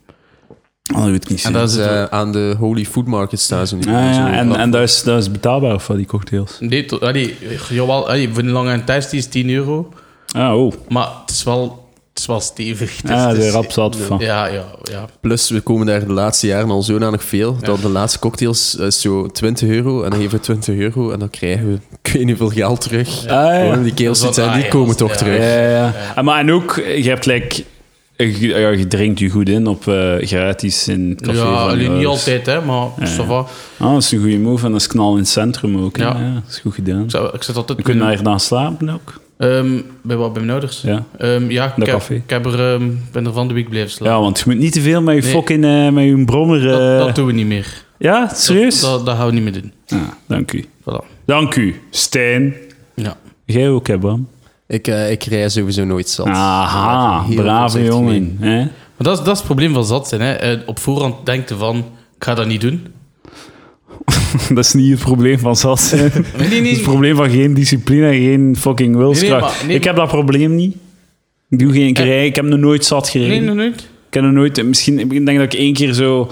S1: Oh, dat weet ik niet.
S2: En dat
S3: Dus,
S2: is het.
S3: eh, aan de Holy Food Market staan ze nu.
S1: Ah, ja,
S3: Zo.
S1: en, en dat, is, dat is betaalbaar voor die cocktails.
S2: Nee, to, allee, jawel, allee, voor een lange en thuis die is 10 euro,
S1: Ah, oh.
S2: maar het is wel, het is wel stevig. Het is-
S1: Ah,
S2: het
S1: de
S2: is-
S1: rap zat van.
S2: Ja, ja, ja.
S3: Plus, we komen daar de laatste jaren al zo nog veel. Dat de laatste cocktails eh, is zo 20 euro. En dan geven we 20 euro en dan krijgen we ik weet niet hoeveel geld terug.
S1: Ah, ja.
S3: Gewoon die kerels
S2: Dat
S3: die
S2: is wel-
S3: zijn, die
S2: ah,
S3: komen
S2: ja,
S3: toch
S2: ja.
S3: terug.
S1: Ja, ja, ja. En Ah, Maar en ook, je hebt like, je, ja, je drinkt je goed in op eh, gratis in het café.
S2: ja
S1: van
S2: allee,
S1: je
S2: niet
S1: ouders.
S2: altijd, hè, maar ça va.
S1: Ah, dat is een goede move en dat is knal in het centrum ook. hè.
S2: Ja.
S1: Ja. dat is goed gedaan.
S2: Ik, zou, ik zit altijd...
S1: Je kunt daar dan slapen ook.
S2: Ehm, bij wat? Bij mijn ouders?
S1: Ja.
S2: Ehm, ja,
S1: Dat
S2: ik, heb,
S1: café.
S2: ik heb er, ehm, ben er van de week blijven slapen.
S1: ja, want je moet niet te veel met je
S2: Nee.
S1: fucking eh, met je brommer. eh,
S2: dat, dat doen we niet meer.
S1: Ja, serieus?
S2: Dat, dat, dat gaan we niet meer doen.
S1: Ah, dank u.
S2: Voilà.
S1: Dank u, Stijn.
S2: Ja.
S1: Jij ook, hè, Bram?
S3: Ik, eh, ik rij sowieso nooit zat.
S1: Aha,
S3: Heel
S1: brave
S3: voorzichtig mee.
S1: jongen. Hè?
S2: Maar dat is, dat is het probleem van zat zijn. Hè. Eh, Op voorhand denkt je van, ik ga dat niet doen.
S1: Dat is niet het probleem van zat zijn.
S2: Nee, nee,
S1: Het is het probleem van geen discipline en geen fucking wilskracht.
S2: Nee, nee, maar- nee,
S1: ik heb dat probleem niet. Ik doe geen
S2: Eh.
S1: rij. Ik heb nog nooit zat gereden.
S2: Nee, nog nooit.
S1: Ik heb nog nooit... Misschien... Ik denk dat ik één keer zo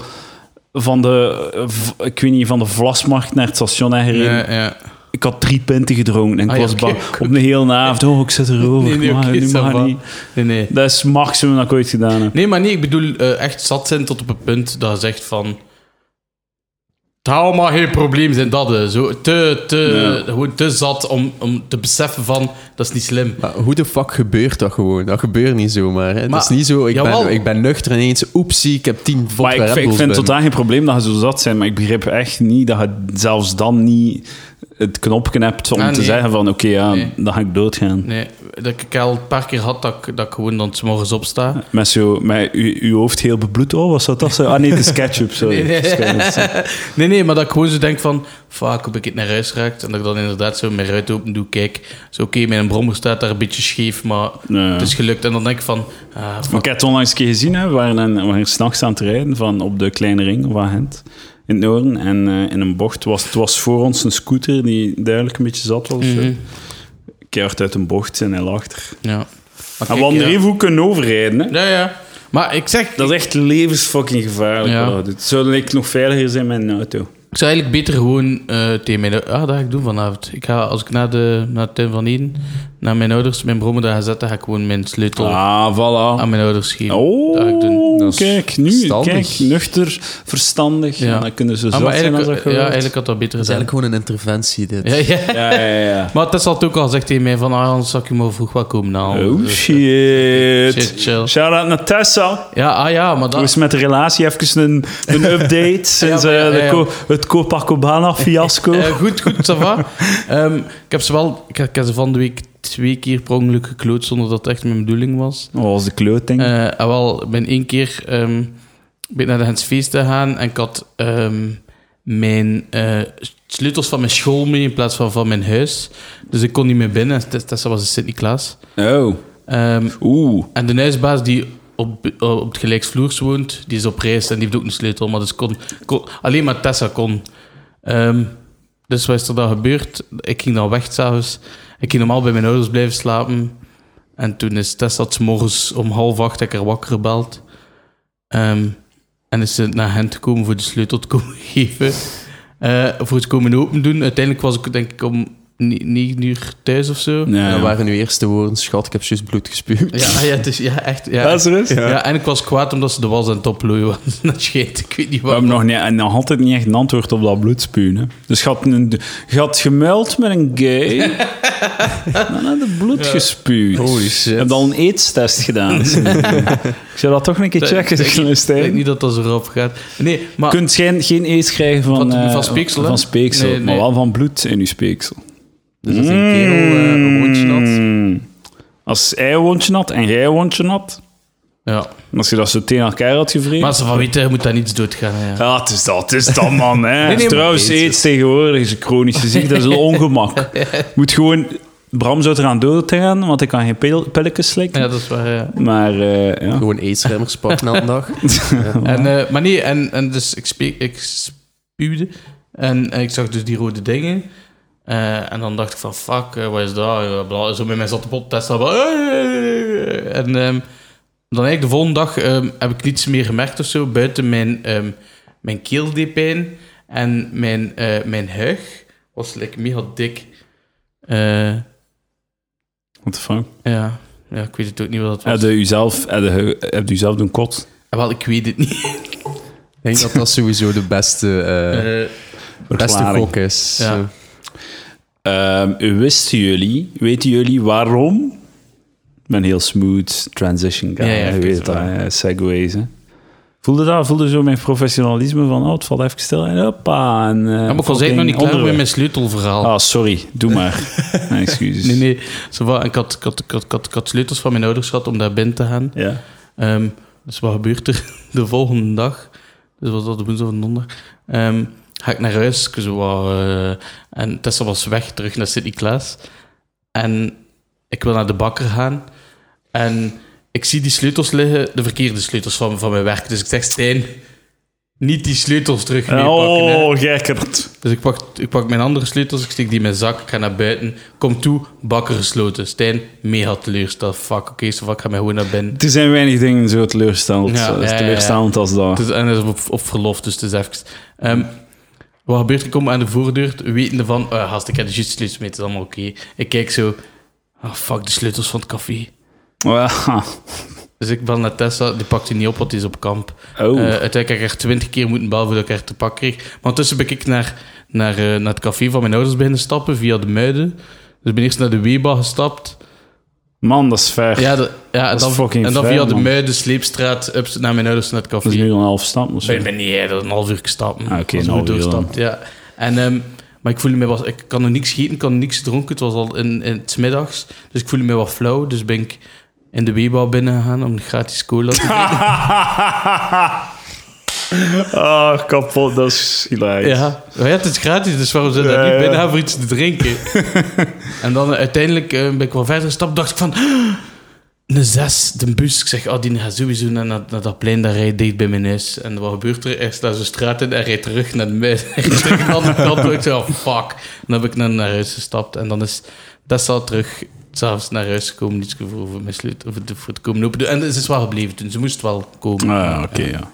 S1: van de... eh, v- Ik weet niet, van de Vlasmarkt naar het station heb gereden.
S2: Ja, ja.
S1: Ik had drie pinten gedronken en ik
S2: Ah, ja,
S1: was
S2: oké,
S1: bang.
S2: oké,
S1: Op de hele avond. Oh, ik zit erover.
S2: Nee, nee,
S1: maar,
S2: oké,
S1: nu
S2: ça
S1: mag
S2: va.
S1: niet.
S2: Nee, nee.
S1: Dat is het maximum dat ik ooit gedaan heb.
S2: Nee, maar nee, ik bedoel eh, echt zat zijn tot op het punt dat je zegt van... Het zou maar geen probleem zijn, dat. hè. Zo, te, te,
S1: Ja.
S2: Gewoon te zat om, om te beseffen van, dat is niet slim.
S3: Maar hoe de fuck gebeurt dat gewoon? Dat gebeurt niet zomaar. Hè?
S2: Maar-
S3: het is niet zo, ik,
S2: jawel.
S3: ben, ik ben nuchter en ineens, oepsie, ik heb tien vodka
S1: Maar ik,
S3: Red
S1: ik
S3: Bulls
S1: vind
S3: bij me.
S1: totaal geen probleem dat je zo zat zijn, maar ik begrijp echt niet dat je zelfs dan niet het knopje hebt om
S2: Ah,
S1: te
S2: nee.
S1: zeggen van oké, ja,
S2: Nee.
S1: dan ga ik doodgaan.
S2: Nee, dat ik al een paar keer had dat ik, dat ik gewoon dan 's morgens opsta.
S1: Met, zo, met uw, uw hoofd heel bebloed. Oh, was dat dat? zo? Ah nee, het is ketchup, sorry.
S2: Nee, nee.
S1: Het is ketchup.
S2: Nee, nee, maar dat ik gewoon zo denk van... Fuck, heb ik het naar huis geraakt? En dat ik dan inderdaad zo mijn ruit open doe, kijk. Zo, oké, mijn brommer staat daar een beetje scheef, maar
S1: Ja.
S2: het is gelukt. En dan denk ik van... Ah,
S1: Maar
S2: fuck.
S1: ik heb het onlangs een keer gezien, hè. we waren, aan- we waren s'nachts aan het rijden van op de Kleine Ring, of aan Gent, in het noorden. En eh, in een bocht, was, het was voor ons een scooter die duidelijk een beetje zat was. of zo.
S2: Mhm.
S1: Keihard uit een bocht en hij lag er.
S2: Ja. Maar
S1: En
S2: kijk,
S1: we hadden
S2: ja.
S1: er even goed kunnen overrijden. Hè.
S2: Ja, ja. Maar ik zeg...
S1: Dat is echt levensfucking gevaarlijk.
S2: Ja.
S1: wat dat doet. Zou ik nog veiliger zijn met een auto?
S2: Ik zou eigenlijk beter gewoon eh, tegen mijn... Ah, dat ga ik doen vanavond. Ik ga, als ik naar de, naar de tuin van Eden, naar mijn ouders, mijn brommer daar ga zetten, ga ik gewoon mijn sleutel
S1: Ah, voilà.
S2: aan mijn ouders geven. dat ga ik doen.
S1: Oh,
S3: Dat is
S1: kijk, nu,
S3: verstandig.
S1: kijk, nuchter, verstandig.
S2: Ja.
S1: En dan kunnen ze
S2: Ah,
S1: zo
S2: maar
S1: zijn als dat
S2: eigenlijk, ja,
S1: gebeurt.
S2: eigenlijk had dat beter
S3: Het is
S2: gezegd.
S3: eigenlijk gewoon een interventie, dit.
S2: Ja, ja.
S1: Ja, ja, ja.
S2: Maar Tess had ook al gezegd tegen mij van, ah, anders zou ik je maar vroeg wel komen halen.
S1: Oh
S2: Dus, eh,
S1: shit.
S2: Shit, chill.
S1: Shout-out naar Tessa.
S2: Ja, ah ja, maar
S1: Hoe is
S2: dat...
S1: het met de relatie? Even een, een update sinds
S2: maar ja,
S1: eh, de
S2: ja, ja.
S1: Co- het Copacabana-fiasco.
S2: Eh, goed, goed, ça va. Ehm, ik heb ze wel... Ik, heb- ik heb ze van de week twee keer per ongeluk gekloot zonder dat het echt mijn bedoeling was.
S1: Wat was Oh, de kloting?
S2: Eh, en wel, ik ben één keer ehm, ben naar de Hens Feest te gaan en ik had ehm, mijn eh, sleutels van mijn school mee in plaats van van mijn huis. Dus ik kon niet meer binnen. Tess- Tessa was in Sint-Niklaas.
S1: Oh.
S2: Ehm,
S1: Oeh.
S2: en de huisbaas die op, op het gelijksvloers woont, die is op reis en die heeft ook een sleutel. Maar dus kon, kon- alleen maar Tessa kon. Ehm, dus wat is er dan gebeurd? Ik ging dan weg s'avonds. Ik ging normaal bij mijn ouders blijven slapen. En toen is Tessa 's morgens om half acht heb ik haar wakker gebeld. Ehm, en is ze naar hen gekomen voor de sleutel te komen geven. Eh, voor het komen open doen. Uiteindelijk was ik denk ik om ni- negen uur thuis of zo.
S1: Ja,
S3: Dat
S1: ja.
S3: waren uw eerste woorden, schat, ik heb juist bloed gespuwd.
S2: Ja, ja, het is, ja echt. Ja,
S1: Dat is er eens.
S2: ja. en ik was kwaad omdat ze de was aan het oplooien was. Dat scheet, ik weet niet
S1: We
S2: waarom.
S1: hebben nog, niet, en nog altijd niet echt een antwoord op dat bloedspuwen. Hè. Dus je had, een, je had gemuild met een gay, dan had je bloed gespuwd.
S3: Holy shit.
S1: Je hebt al een eetstest gedaan. ik zou dat toch een keer
S2: Dat-
S1: checken,
S2: dat-
S1: zeg maar,
S2: Ik
S1: Stijn.
S2: denk niet dat dat zo rap gaat. Nee, maar...
S1: Je kunt geen, geen aids krijgen van,
S2: Van-
S1: eh,
S2: van speeksel, hè?
S1: van speeksel,
S2: Nee, nee.
S1: maar wel van bloed in je speeksel.
S3: Dus als een kerel eh, een hondje had...
S1: Mm. Als hij een wondje had en jij een wondje had,
S2: Ja.
S1: en als je dat zo tegen elkaar had gevreten...
S2: Maar ze van weten, je moet daar niets doodgaan. hè, Ja.
S1: Ja, het is dat, het is dat, man. Hè.
S2: nee, maar-
S1: Trouwens,
S2: Jezus.
S1: aids tegenwoordig is een chronische ziekte, dat is een ongemak. Moet gewoon... Bram zou eraan dood gaan, want ik kan geen pil- pilletjes slikken.
S2: ja, dat is waar. Ja.
S1: Maar eh, ja.
S3: Gewoon aidsremmers pakken na een dag.
S2: En, eh, maar nee, en, en dus ik, spe- ik spuwde. En, eh, ik zag dus die rode dingen. Eh, en dan dacht ik van, fuck, eh, wat is dat? Eh, bla, Zo met mijn zatte pop testen. van, "Hey!" eh, En ehm, dan eigenlijk de volgende dag ehm, heb ik niets meer gemerkt of zo. Buiten mijn, ehm mijn keel deed pijn. En mijn, eh, mijn huig was like, mega dik. Eh,
S1: What the fuck?
S2: ja. ja, ik weet het ook niet wat dat was.
S1: Heb je jezelf, heb je, heb je zelf een kot?
S2: Eh, Wel, ik weet het niet.
S3: Ik denk dat dat sowieso de beste, eh
S2: Eh,
S3: beste
S1: Verklaring.
S3: gok is.
S2: Ja.
S3: Zo.
S1: Ehm, wisten jullie, weten jullie waarom? Ik ben heel smooth, transition guy,
S2: Ja, ja,
S1: je
S2: ik weet
S1: weet
S2: het
S1: dat,
S2: wel.
S1: hè, segways. Hè. Voelde dat, voelde zo mijn professionalisme van, oh, het valt even stil en hoppa. En, eh,
S2: ja, maar ik was eigenlijk nog niet klaar met mijn sleutelverhaal.
S1: Ah, sorry, doe maar. Mijn excuses.
S2: Nee, nee. Zo van, ik, had, ik, had, ik, had, ik had- ik had sleutels van mijn ouders gehad om daar binnen te gaan.
S1: Ja.
S2: Ehm, dus wat gebeurt er de volgende dag? Dus was dat de woensdag of de donderdag? Ehm, ga ik naar huis. Ik zo, wat, eh, en Tessa was weg, terug naar Sint-Niklaas. En ik wil naar de bakker gaan. En ik zie die sleutels liggen, de verkeerde sleutels van, van mijn werk. Dus ik zeg, Stijn, niet die sleutels terug meepakken. hè."
S1: oh, gekkerd.
S2: Dus ik pak, ik pak mijn andere sleutels, ik steek die in mijn zak, ik ga naar buiten. Kom toe, bakker gesloten. Stijn, mega teleurgesteld. Fuck, oké, zo fuck, ga mij gewoon naar binnen.
S1: Er zijn weinig dingen zo teleurstellend,
S2: Ja,
S1: eh,
S2: ja, ja, ja.
S1: teleurstellend als dat.
S2: Het is, en het is op, op verlof, dus het is even... Ehm, wat gebeurt? Ik kom aan de voordeur, wetende van... eh gast, ik heb de juiste sleutels mee, het is allemaal oké. Ik kijk zo... Ah, fuck, de sleutels van het café.
S1: Wel,
S2: Dus ik bel naar Tessa, die pakt die niet op, want die is op kamp.
S1: Oh.
S2: Eh, uiteindelijk heb ik haar twintig keer moeten bellen voordat ik haar te pak kreeg. Maar ondertussen ben ik naar, naar, eh, naar het café van mijn ouders beginnen stappen, via de Muiden. Dus ik ben eerst naar de Weba gestapt.
S1: man, dat is ver.
S2: Ja, de- ja en
S1: is
S2: dan,
S1: fucking
S2: en dan
S1: ver,
S2: via de
S1: man.
S2: Muiden, Sleepstraat, up naar mijn ouders naar het café.
S1: Dat is nu een half stap. of zo.
S2: Ik ben niet eerder dan een half uur gestapt.
S1: Ah, oké,
S2: Als
S1: een
S2: we
S1: half uur
S2: doorstapt, ja. En, ehm, maar ik voelde me was, ik kan nog niks gegeten, ik kan niks dronken. Het was al in, in het middags, dus ik voelde me wat flauw. Dus ben ik in de Weba binnen gegaan om gratis cola te drinken.
S1: ah, kapot, dat is hilarisch.
S2: Ja, maar ja, het is gratis, dus waarom zou je daar
S1: Ja,
S2: niet
S1: ja.
S2: binnen gaan voor iets te drinken? en dan eh, uiteindelijk eh, ben ik wel verder gestapt, dacht ik van... Een zes, de bus. Ik zeg, oh, die gaat sowieso naar, naar, naar dat plein, daar rijdt dicht bij mijn huis. En wat gebeurt er? Hij slaat zo'n straat in en rijdt terug naar de muis. Hij rijdt terug naar de andere kant. Ik zeg, oh, fuck. En dan heb ik naar, naar huis gestapt. En dan is Tessa terug, s'avonds naar huis gekomen. Niets gevoel voor mijn sleutel, voor, de- voor het komen open. En ze is wel gebleven toen. Ze moest wel komen.
S1: Ah, oké, ja.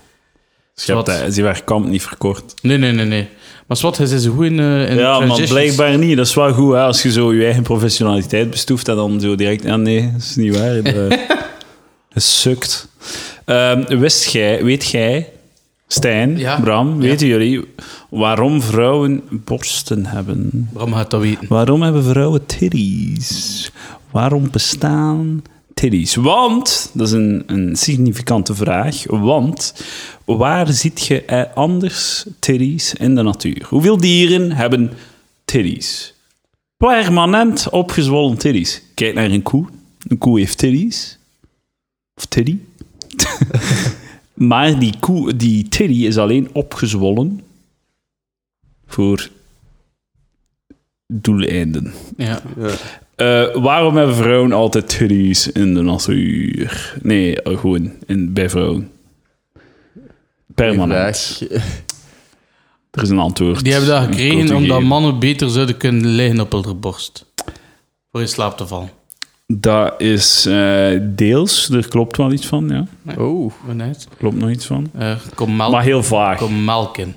S1: Dus je hebt
S2: Wat?
S1: dat- Ze werd kamp niet verkort.
S2: Nee, nee, nee, nee. Maar zwart, hij is goed in, eh, in
S1: Ja, maar
S2: transitions.
S1: blijkbaar niet. Dat is wel goed hè? als je zo je eigen professionaliteit bestoeft en dan zo direct. Ah, nee, dat is niet waar. Dat, eh, dat sukt. Ehm, wist jij, weet jij, Stijn,
S2: Ja.
S1: Bram, weten jullie waarom vrouwen borsten hebben?
S2: Bram gaat dat weten.
S1: Waarom hebben vrouwen titties? Waarom bestaan titties? Want, dat is een, een significante vraag, want waar ziet je eh, anders titties in de natuur? Hoeveel dieren hebben titties? Permanent opgezwollen titties. Kijk naar een koe. Een koe heeft titties. Of titty. maar die, koe, die titty is alleen opgezwollen voor doeleinden.
S2: Ja.
S3: Ja.
S1: Eh, waarom hebben vrouwen altijd hoodies in de natuur? Nee, eh, gewoon in, bij vrouwen. Permanent.
S3: Vraag.
S1: Er is een antwoord.
S2: Die hebben dat
S1: Een
S2: gekregen
S1: cultuur
S2: omdat
S1: gegeven.
S2: mannen beter zouden kunnen liggen op hun borst. Voor in slaap te vallen.
S1: Dat is eh, deels, er klopt wel iets van, ja.
S3: Oh.
S2: Vanuit.
S1: Klopt nog iets van.
S2: Eh, kom, melk,
S1: Maar heel vaag.
S2: kom melk in.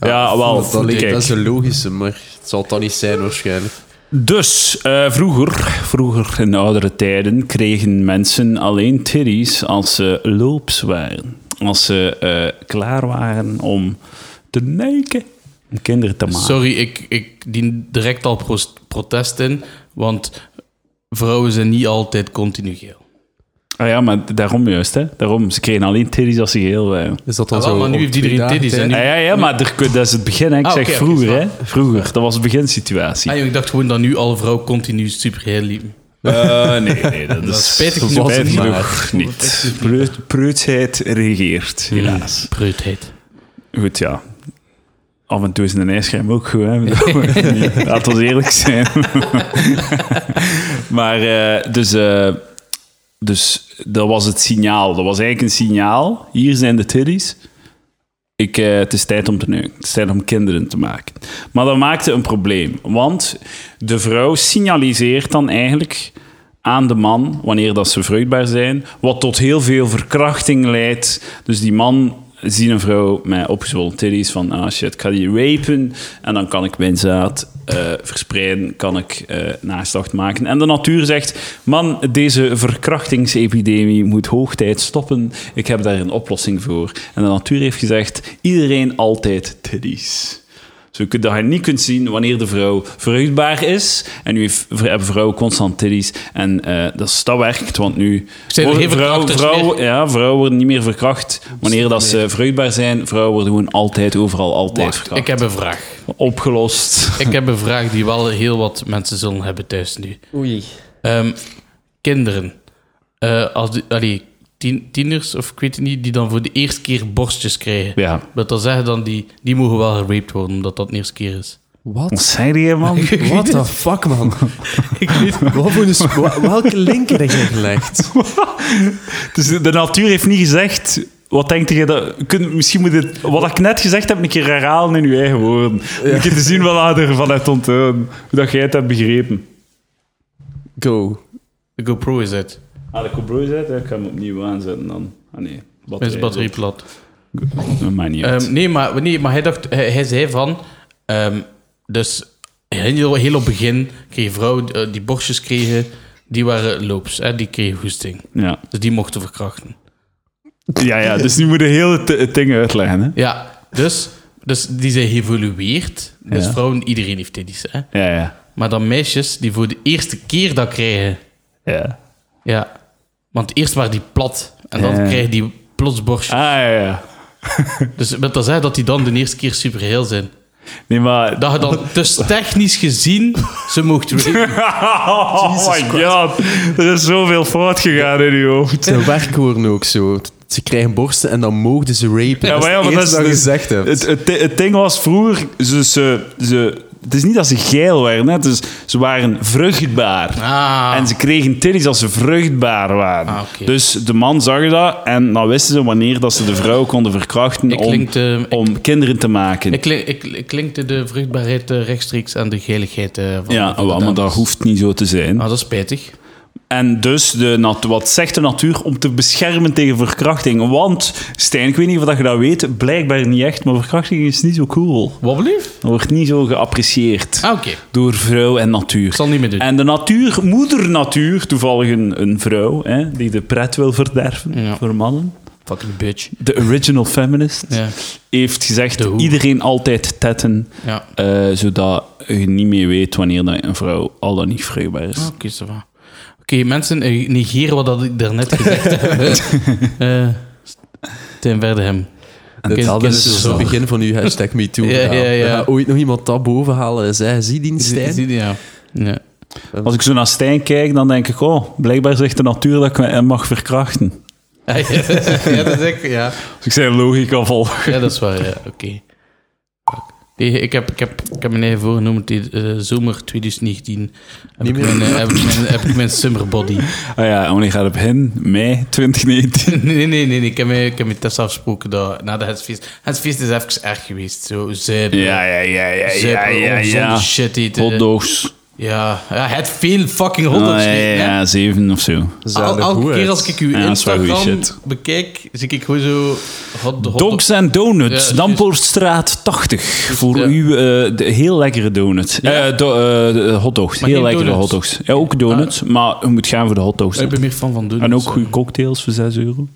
S1: Ja, wel,
S3: dat, lijkt-
S1: kijk.
S3: dat is een logische, maar het zal dat niet zijn waarschijnlijk.
S1: Dus, eh, vroeger, vroeger in oudere tijden, kregen mensen alleen titties als ze loops waren. Als ze eh, klaar waren om te neiken, om kinderen te maken.
S2: Sorry, ik, ik dien direct al pros- protest in, want vrouwen zijn niet altijd continu geel.
S1: Ah ja, maar daarom juist, hè. Daarom, ze kregen alleen titties als ze geel waren.
S3: Is Dus dat dan
S2: Ah, wel,
S3: zo
S2: maar nu
S3: op
S2: heeft
S3: twee
S2: iedereen
S3: dagen
S2: titties,
S3: tijd?
S2: hè,
S1: Ja, ja, ja maar er, kun- dat is het begin, hè. Ik
S2: Ah,
S1: zeg
S2: oké, oké,
S1: vroeger,
S2: snap.
S1: hè. Vroeger, dat was de beginsituatie.
S2: Ah, joh, ik dacht gewoon dat nu alle vrouwen continu supergeel liepen.
S1: Eh, nee, nee, dat, is
S2: spijtig genoeg.
S1: spijtig
S3: Maar-
S1: genoeg niet. Preut, preutsheid regeert, helaas.
S2: Preutheid.
S1: Goed, ja. Af en toe is een ijscrème ook goed, hè? Laten we eerlijk zijn. maar, eh, dus, eh, dus dat was het signaal. Dat was eigenlijk een signaal. Hier zijn de tiddies. Ik, eh, het is tijd om te neuken. Het is tijd om kinderen te maken. Maar dat maakte een probleem. Want de vrouw signaliseert dan eigenlijk aan de man, wanneer dat ze vruchtbaar zijn, wat tot heel veel verkrachting leidt. Dus die man ziet een vrouw met opgezwollen titties van, ah shit, ik ga die rapen en dan kan ik mijn zaad eh, verspreiden, kan ik eh nageslacht maken. En de natuur zegt, man, deze verkrachtingsepidemie moet hoogtijd stoppen. Ik heb daar een oplossing voor. En de natuur heeft gezegd, iedereen altijd titties. Dus je kunt- dat je niet kunt zien wanneer de vrouw vruchtbaar is. En nu heeft- v- hebben vrouwen constant titties. En eh, dat, is- dat werkt, want nu...
S2: Zijn er geen
S1: vrouwen,
S2: verkrachters
S1: vrouwen, ja, vrouwen worden niet meer verkracht wanneer dat ze vruchtbaar zijn. Vrouwen worden gewoon altijd, overal, altijd
S2: Wacht,
S1: verkracht.
S2: ik heb een vraag.
S1: Opgelost.
S2: Ik heb een vraag die wel heel wat mensen zullen hebben thuis nu.
S3: Oei.
S2: Ehm, kinderen, Eh, als die, allee, tien- tieners of ik weet het niet, die dan voor de eerste keer borstjes krijgen.
S1: Ja.
S2: Wat dat zeggen dan, die, die mogen wel geraped worden, omdat dat de eerste keer is.
S1: Wat
S3: Wat?
S1: zei je, man?
S3: What the fuck, man? Wat voor een sp- wa- welke link heb je gelegd?
S1: Dus de natuur heeft niet gezegd. Wat denkt je dat? kun- misschien moet dit, wat ik net gezegd heb, een keer herhalen in je eigen woorden. Om Een keer te zien wat je ervan hebt onthouden. Hoe dat jij het hebt begrepen.
S3: Go.
S2: De GoPro is uit.
S1: Ah, de cobro zet, ik ga hem opnieuw aanzetten dan. Ah nee,
S2: Met zijn batterij plat.
S1: Dat maakt niet uit.
S2: Ehm, nee, maar, nee, maar hij, dacht, hij, hij zei van... ehm, dus heel, heel op het begin kreeg vrouwen eh, die borstjes kregen... Die waren loops, hè, die kregen goesting.
S1: ja.
S2: Dus die mochten verkrachten.
S1: Ja, ja, dus nu moet je heel het, het ding uitleggen. Hè?
S2: Ja, dus, dus die zijn geëvolueerd. Dus
S1: Ja.
S2: vrouwen, iedereen heeft titties, hè.
S1: Ja, ja.
S2: Maar dan meisjes die voor de eerste keer dat krijgen...
S1: ja.
S2: Ja, want eerst waren die plat. En dan
S1: Ja.
S2: krijgen die plots borstjes.
S1: Ah ja, ja.
S2: Dus wil dat zeggen dat die dan de eerste keer superheel zijn.
S1: Nee, maar.
S2: Dat je dan dus technisch gezien ze mocht rapen.
S1: oh my god, er is zoveel fout gegaan in je hoofd.
S3: Ze werkwoorden ook zo. Ze krijgen borsten en dan mogen ze rapen.
S1: Ja, maar ja, maar
S3: dat
S1: dat
S3: is
S1: is
S3: het eerste dat je
S1: dus-
S3: gezegd hebt.
S1: Het, het, het ding was vroeger, ze, ze, ze, het is niet dat ze geil waren, hè. Dus ze waren vruchtbaar.
S2: Ah,
S1: En ze kregen titties als ze vruchtbaar waren.
S2: Ah, oké.
S1: Dus de man zag dat en dan wisten ze wanneer dat ze de vrouw konden verkrachten
S2: Ik
S1: om,
S2: klink te- ik-
S1: om kinderen te maken.
S2: ik, klink- ik, ik linkte de vruchtbaarheid eh, rechtstreeks aan de geiligheid eh, van
S1: ja, oh,
S2: van de
S1: wel, maar dat
S2: dames.
S1: hoeft niet zo te zijn.
S2: Ah, dat is spijtig.
S1: En dus, de nat- wat zegt de natuur om te beschermen tegen verkrachting? Want, Stijn, ik weet niet of dat je dat weet, blijkbaar niet echt, maar verkrachting is niet zo cool.
S2: Wat belief?
S1: Dat wordt niet zo geapprecieerd.
S2: Ah, oké.
S1: door vrouw en natuur.
S2: Ik zal niet meer doen.
S1: En de natuur, moeder natuur, toevallig een, een vrouw hè, die de pret wil verderven
S2: Ja.
S1: voor mannen,
S2: Fucking bitch.
S1: de original feminist,
S2: Ja,
S1: heeft gezegd:
S2: De hoe.
S1: iedereen altijd tetten,
S2: ja.
S1: eh, zodat je niet meer weet wanneer dat een vrouw al dan niet vruchtbaar is.
S2: Ah, Oké, ça va. Oké, mensen, eh, negeer wat dat ik daarnet gezegd heb. Eh Tim Verdehem.
S3: Dat
S2: Kind-
S3: hadden
S2: kind
S3: ze dus
S2: is
S3: het
S2: zo.
S3: begin van uw hashtag MeToo.
S2: Ja,
S3: gedaan.
S2: ja, ja.
S3: We gaan ooit nog iemand dat bovenhalen en zeggen, zie die Stijn?
S2: Zie je, Ja. ja.
S1: Als ik zo naar Stijn kijk, dan denk ik: oh, blijkbaar zegt de natuur dat ik me mag verkrachten.
S2: Ah, ja, dat is ik, ja.
S1: Als ik zijn logica volg.
S2: Ja, dat is waar, ja. Oké. Fuck. Tegen- ik, heb, ik, heb, ik heb mijn eigen voorgenomen tegen eh, zomer 2019. Heb
S3: Niet
S2: ik,
S3: meer.
S2: mijn, eh, heb, ik mijn, heb ik mijn summer body.
S1: Ah ja, en wanneer gaat het beginnen? Mei 2019.
S2: Nee, nee, nee. nee. Ik, heb met, ik heb met Tessa afgesproken dat na de hetsfeest... Het feest is even erg geweest. Zo zuipen.
S1: Ja, ja, ja, ja, ja,
S2: zuipen,
S1: ja,
S2: ongezonde
S1: ja.
S2: shit eten.
S1: eh, Hotdogs.
S2: Ja, ja, het veel fucking
S1: Ah,
S2: hotdogs
S1: ja,
S2: eten, hè.
S1: ja, ja, zeven of zo.
S2: Al,
S3: Zalig
S2: elke
S3: hoe
S2: keer
S3: uit.
S2: als ik uw
S1: Ja, dat is wel goeie
S2: Instagram
S1: shit.
S2: bekijk, zie ik gewoon zo... Hot, hot,
S1: Dogs and Donuts,
S2: Ja, dus-
S1: Dampoortstraat 80. Voor
S2: ja.
S1: uw eh, de- heel lekkere donut.
S2: Ja.
S1: Eh, do- eh, de- hotdogs,
S2: Maar
S1: heel
S2: geen
S1: lekkere
S2: donuts.
S1: hotdogs. Ja, ook donuts, maar je moet gaan voor de hotdogs.
S2: Ik ben meer fan van doen.
S1: En ook goede cocktails voor 6 euro.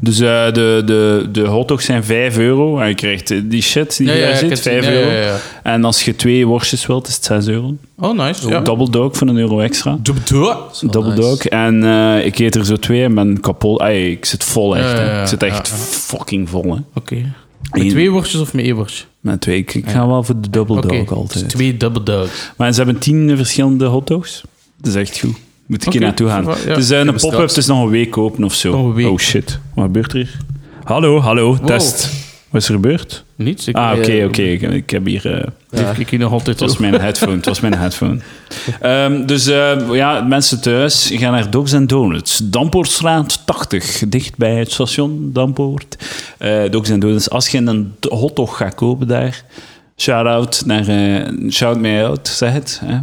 S1: Dus eh, de, de, de hotdogs zijn 5 euro. En je krijgt eh, die shit die
S2: Ja, ja,
S1: daar
S2: ik heb
S1: zit,
S2: het
S1: 5
S2: gezien. Ja,
S1: euro.
S2: ja, ja.
S1: En als je twee worstjes wilt, is het 6 euro.
S2: Oh, nice. Ja.
S1: Double dog voor een euro extra.
S2: Doe- doe.
S1: Double
S3: nice.
S1: dog. En eh, ik eet er zo twee en ben kapot. Ay, ik zit vol echt.
S2: Ja,
S1: hè.
S2: ja, ja.
S1: Ik zit echt
S2: Ja, ja.
S1: fucking vol. Hè.
S2: Oké.
S1: Eén.
S2: Met twee worstjes of met één worstje?
S1: Met twee. Ik, ik ga wel voor de double
S2: Oké.
S1: dog altijd.
S2: Dus twee double dogs.
S1: Maar ze hebben tien verschillende hotdogs. Dat is echt goed. Moet ik hier
S2: Oké,
S1: naartoe gaan.
S2: ja.
S1: Het is eh, een
S3: straks.
S1: pop-up, het is nog een week open of zo.
S2: Nog een week.
S1: Oh shit, wat gebeurt er hier? Hallo, hallo, test. Wat is er gebeurd?
S2: Niets. Ik,
S1: Ah, oké,
S3: eh,
S1: oké. Ik, ik heb hier... eh,
S2: ik, ik hier nog altijd
S1: het was mijn headphone, het was mijn headphone. Ehm, dus eh, ja, mensen thuis gaan naar Dogs and Donuts. Dampoortstraat 80, dicht bij het station Dampoort. Eh, Dogs and Donuts. Als je een d- hotdog gaat kopen daar, shout-out naar... eh, shout me out, zeg het. Hè,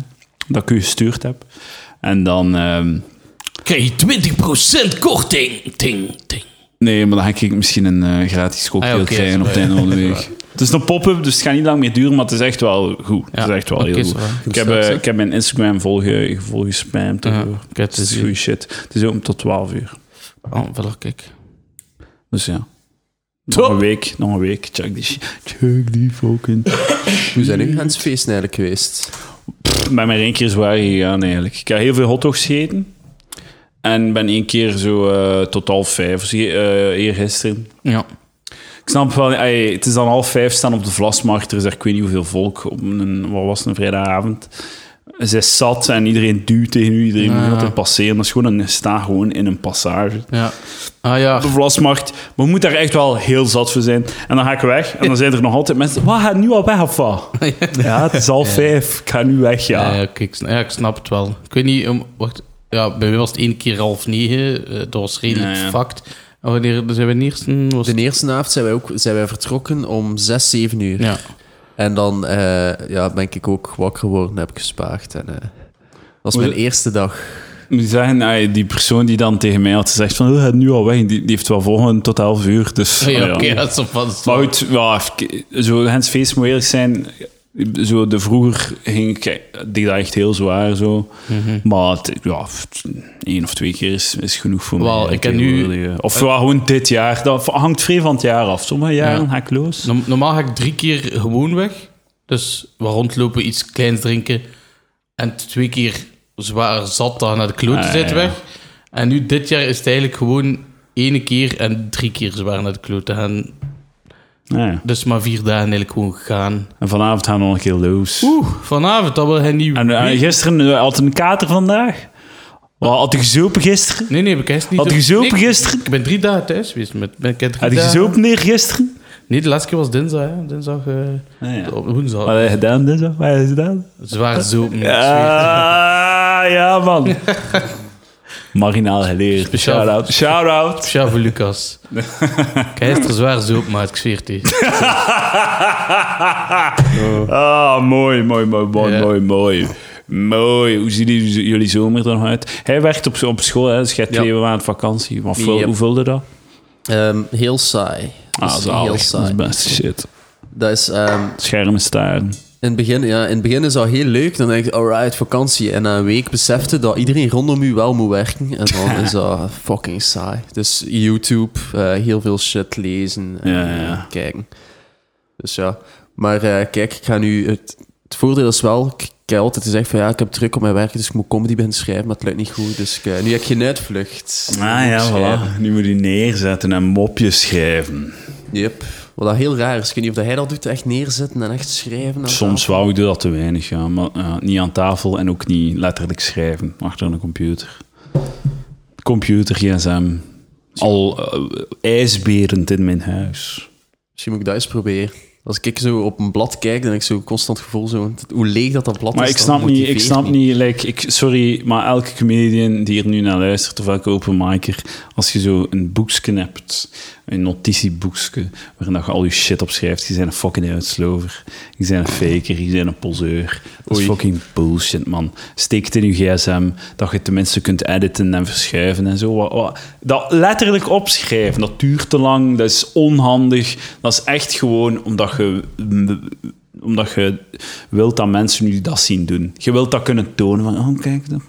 S1: dat ik u gestuurd heb. En dan... ehm,
S2: Krijg je 20% korting. Ting, ting.
S1: Nee, maar dan ga ik misschien een eh, gratis cocktail
S2: Ah, ja, oké,
S1: krijgen op
S2: dat is
S1: het einde van de week. Het is een pop-up, dus het gaat niet lang meer duren, maar het is echt wel goed.
S2: Ja,
S1: Het is echt wel
S2: oké,
S1: heel
S2: zo.
S1: goed. Ik heb, eh, ik heb mijn Instagram volge, volgespamd.
S2: Ja,
S1: daarvoor.
S2: ik heb het
S1: het is
S2: gezien.
S1: goede shit. Het is open tot 12 uur.
S2: Oh, wel kijk.
S1: Dus ja. Nog
S2: Top.
S1: een week, nog een week. Check die shit. Check die fucking...
S3: Hoe zijn jullie aan het feesten eigenlijk geweest?
S1: Ik ben maar één keer zwaar gegaan eigenlijk. Ik heb heel veel hotdogs gegeten. En ben één keer zo eh, tot half vijf, eh eergisteren,
S2: Ja.
S1: Ik snap wel, ey, het is dan half vijf staan op de Vlasmarkt. Er is daar ik weet niet hoeveel volk op een, wat was het, een vrijdagavond. Ze is zat en iedereen duwt tegen u, iedereen
S2: Ja.
S1: moet altijd passeren. Dat is gewoon een, sta gewoon in een passage.
S2: Ja. Ah ja.
S1: Op de Vlasmarkt, maar je moet daar echt wel heel zat voor zijn. En dan ga ik weg en dan zijn er nog altijd mensen. Wat, gaat nu al weg of wat? Ja, het is half vijf, ik ga nu weg, ja.
S2: Ja, ja, oké, ik, sna- ja, ik snap het wel. Ik weet niet, om, wacht. Ja, bij mij was het één keer half negen. eh, dat was redelijk
S1: Ja,
S2: ja,
S1: ja.
S2: En wanneer zijn we in eerste? Was
S3: De eerste avond zijn wij, ook, zijn wij vertrokken om 6, 7 uur.
S2: ja.
S3: En dan eh, ja, ben ik ook wakker geworden, heb ik gespaard. En, eh, dat was
S1: Hoe-
S3: mijn eerste dag.
S1: Ik moet zeggen, ey, die persoon die dan tegen mij had gezegd van, "Oh, gaat nu al weg, die, die heeft wel volgend tot elf uur. Dus,
S2: Oh Ja,
S1: ja.
S2: oké, dat is op wat. dat is
S1: Maar
S2: wel-
S1: goed, ja, ik- zo, Hens Feest moet eerlijk zijn. Zo, de vroeger ging ik, eh, deed dat echt heel zwaar zo.
S2: Mhm.
S1: Maar het, ja, het- één of twee keer is, is genoeg voor
S2: Wel,
S1: mij.
S2: ik ken nu- Eh,
S1: tegenwoordig. Of ja, gewoon dit jaar. Dat hangt vrij van het jaar af. Sommige jaren
S2: Ja.
S1: ga ik los.
S2: Norm- normaal ga ik drie keer gewoon weg. Dus we rondlopen, iets kleins drinken. En twee keer zwaar zat dan naar de klote
S1: Ah,
S2: zit
S1: ja.
S2: weg. En nu dit jaar is het eigenlijk gewoon ene keer en drie keer zwaar naar de klote gaan.
S1: Ja.
S2: Dus maar vier dagen eigenlijk gewoon gaan.
S1: En vanavond gaan we nog een keer los.
S2: Oeh, vanavond, dat wil hij niet.
S1: En, en
S2: weten.
S1: gisteren eh, had een kater vandaag. Wat, Had ik gezopen gisteren?
S2: Nee, nee, ik heb niet.
S1: Had je
S2: op-
S1: gezopen
S2: Nee,
S1: gisteren?
S2: Ik ben drie dagen thuis geweest. Met, ben, ik heb drie
S1: Had ik
S2: dagen-
S1: gezopen neer gisteren?
S2: Nee, de laatste keer was dinsdag. Hè. Dinsdag, eh,
S1: Ah, ja.
S2: op
S1: Wat
S2: woensdag.
S1: heb je gedaan? Dus, wat heb je gedaan?
S2: Zwaar zopen. ik zweer.
S1: Ja, Ah, ja man. Marinaal geleerd.
S2: Speciaal-
S1: Shout-out. Shout-out.
S2: Speciaal voor Lucas. Hij is er zwaar zo op, maar ik zweer het. je.
S1: Ah, mooi, mooi, mooi, mooi,
S2: Ja.
S1: mooi, mooi. Mooi. Hoe zien jullie, jullie zomer er nog uit? Hij werkt op, op school, hè, dus jij hebt
S3: Ja.
S1: twee maanden vakantie. Maar vul-
S3: Yep.
S1: hoe vulde dat?
S3: Ehm, heel saai. Dat
S1: Ah,
S3: is
S1: zalig.
S3: heel
S1: Dat is
S3: saai.
S1: best shit.
S3: Dat is, ehm,
S1: Schermen staren.
S3: in, het begin, ja, in het begin is dat heel leuk. Dan denk je, alright, vakantie. En na een week besefte dat iedereen rondom u wel moet werken. En dan is dat fucking saai. Dus YouTube, eh, heel veel shit lezen en
S1: Ja, ja, ja.
S3: eh, kijken. Dus ja. Maar eh, kijk, ik ga nu... Het, het voordeel is wel, ik, ik heb altijd gezegd van ja, ik heb druk op mijn werk, dus ik moet comedy beginnen schrijven, maar het lukt niet goed. Dus ik, eh, nu heb ik geen uitvlucht.
S1: Ah
S3: Ik moet
S1: ja,
S3: schrijven.
S1: voilà. Nu moet hij neerzetten en mopjes schrijven.
S3: Yep. Wat dat heel raar is. Ik weet niet of dat hij dat doet, echt neerzetten en echt schrijven. en
S1: Soms wou ik dat te weinig, ja. Maar eh, niet aan tafel en ook niet letterlijk schrijven achter een computer. Computer, gsm. Al eh, ijsberend in mijn huis.
S3: Misschien moet ik dat eens proberen. Als ik zo op een blad kijk, dan heb ik zo constant gevoel zo, hoe leeg dat dat blad
S1: Maar
S3: is.
S1: ik
S3: dat
S1: snap niet, ik
S3: motiveert
S1: snap niet, like, ik, sorry, maar elke comedian die hier nu naar luistert, of elke openmaker, als je zo een boekje hebt, een notitieboekje, waarin dat je al je shit opschrijft, je bent een fucking uitslover, je bent een faker, je bent een poseur. Dat is
S3: Oei.
S1: fucking bullshit, man. Steek het in je gsm, dat je tenminste kunt editen en verschuiven en zo. Wat, wat- Dat letterlijk opschrijven, dat duurt te lang, dat is onhandig. Dat is echt gewoon omdat je omdat je wilt dat mensen nu dat zien doen. Je wilt dat kunnen tonen van, oh kijk, dat,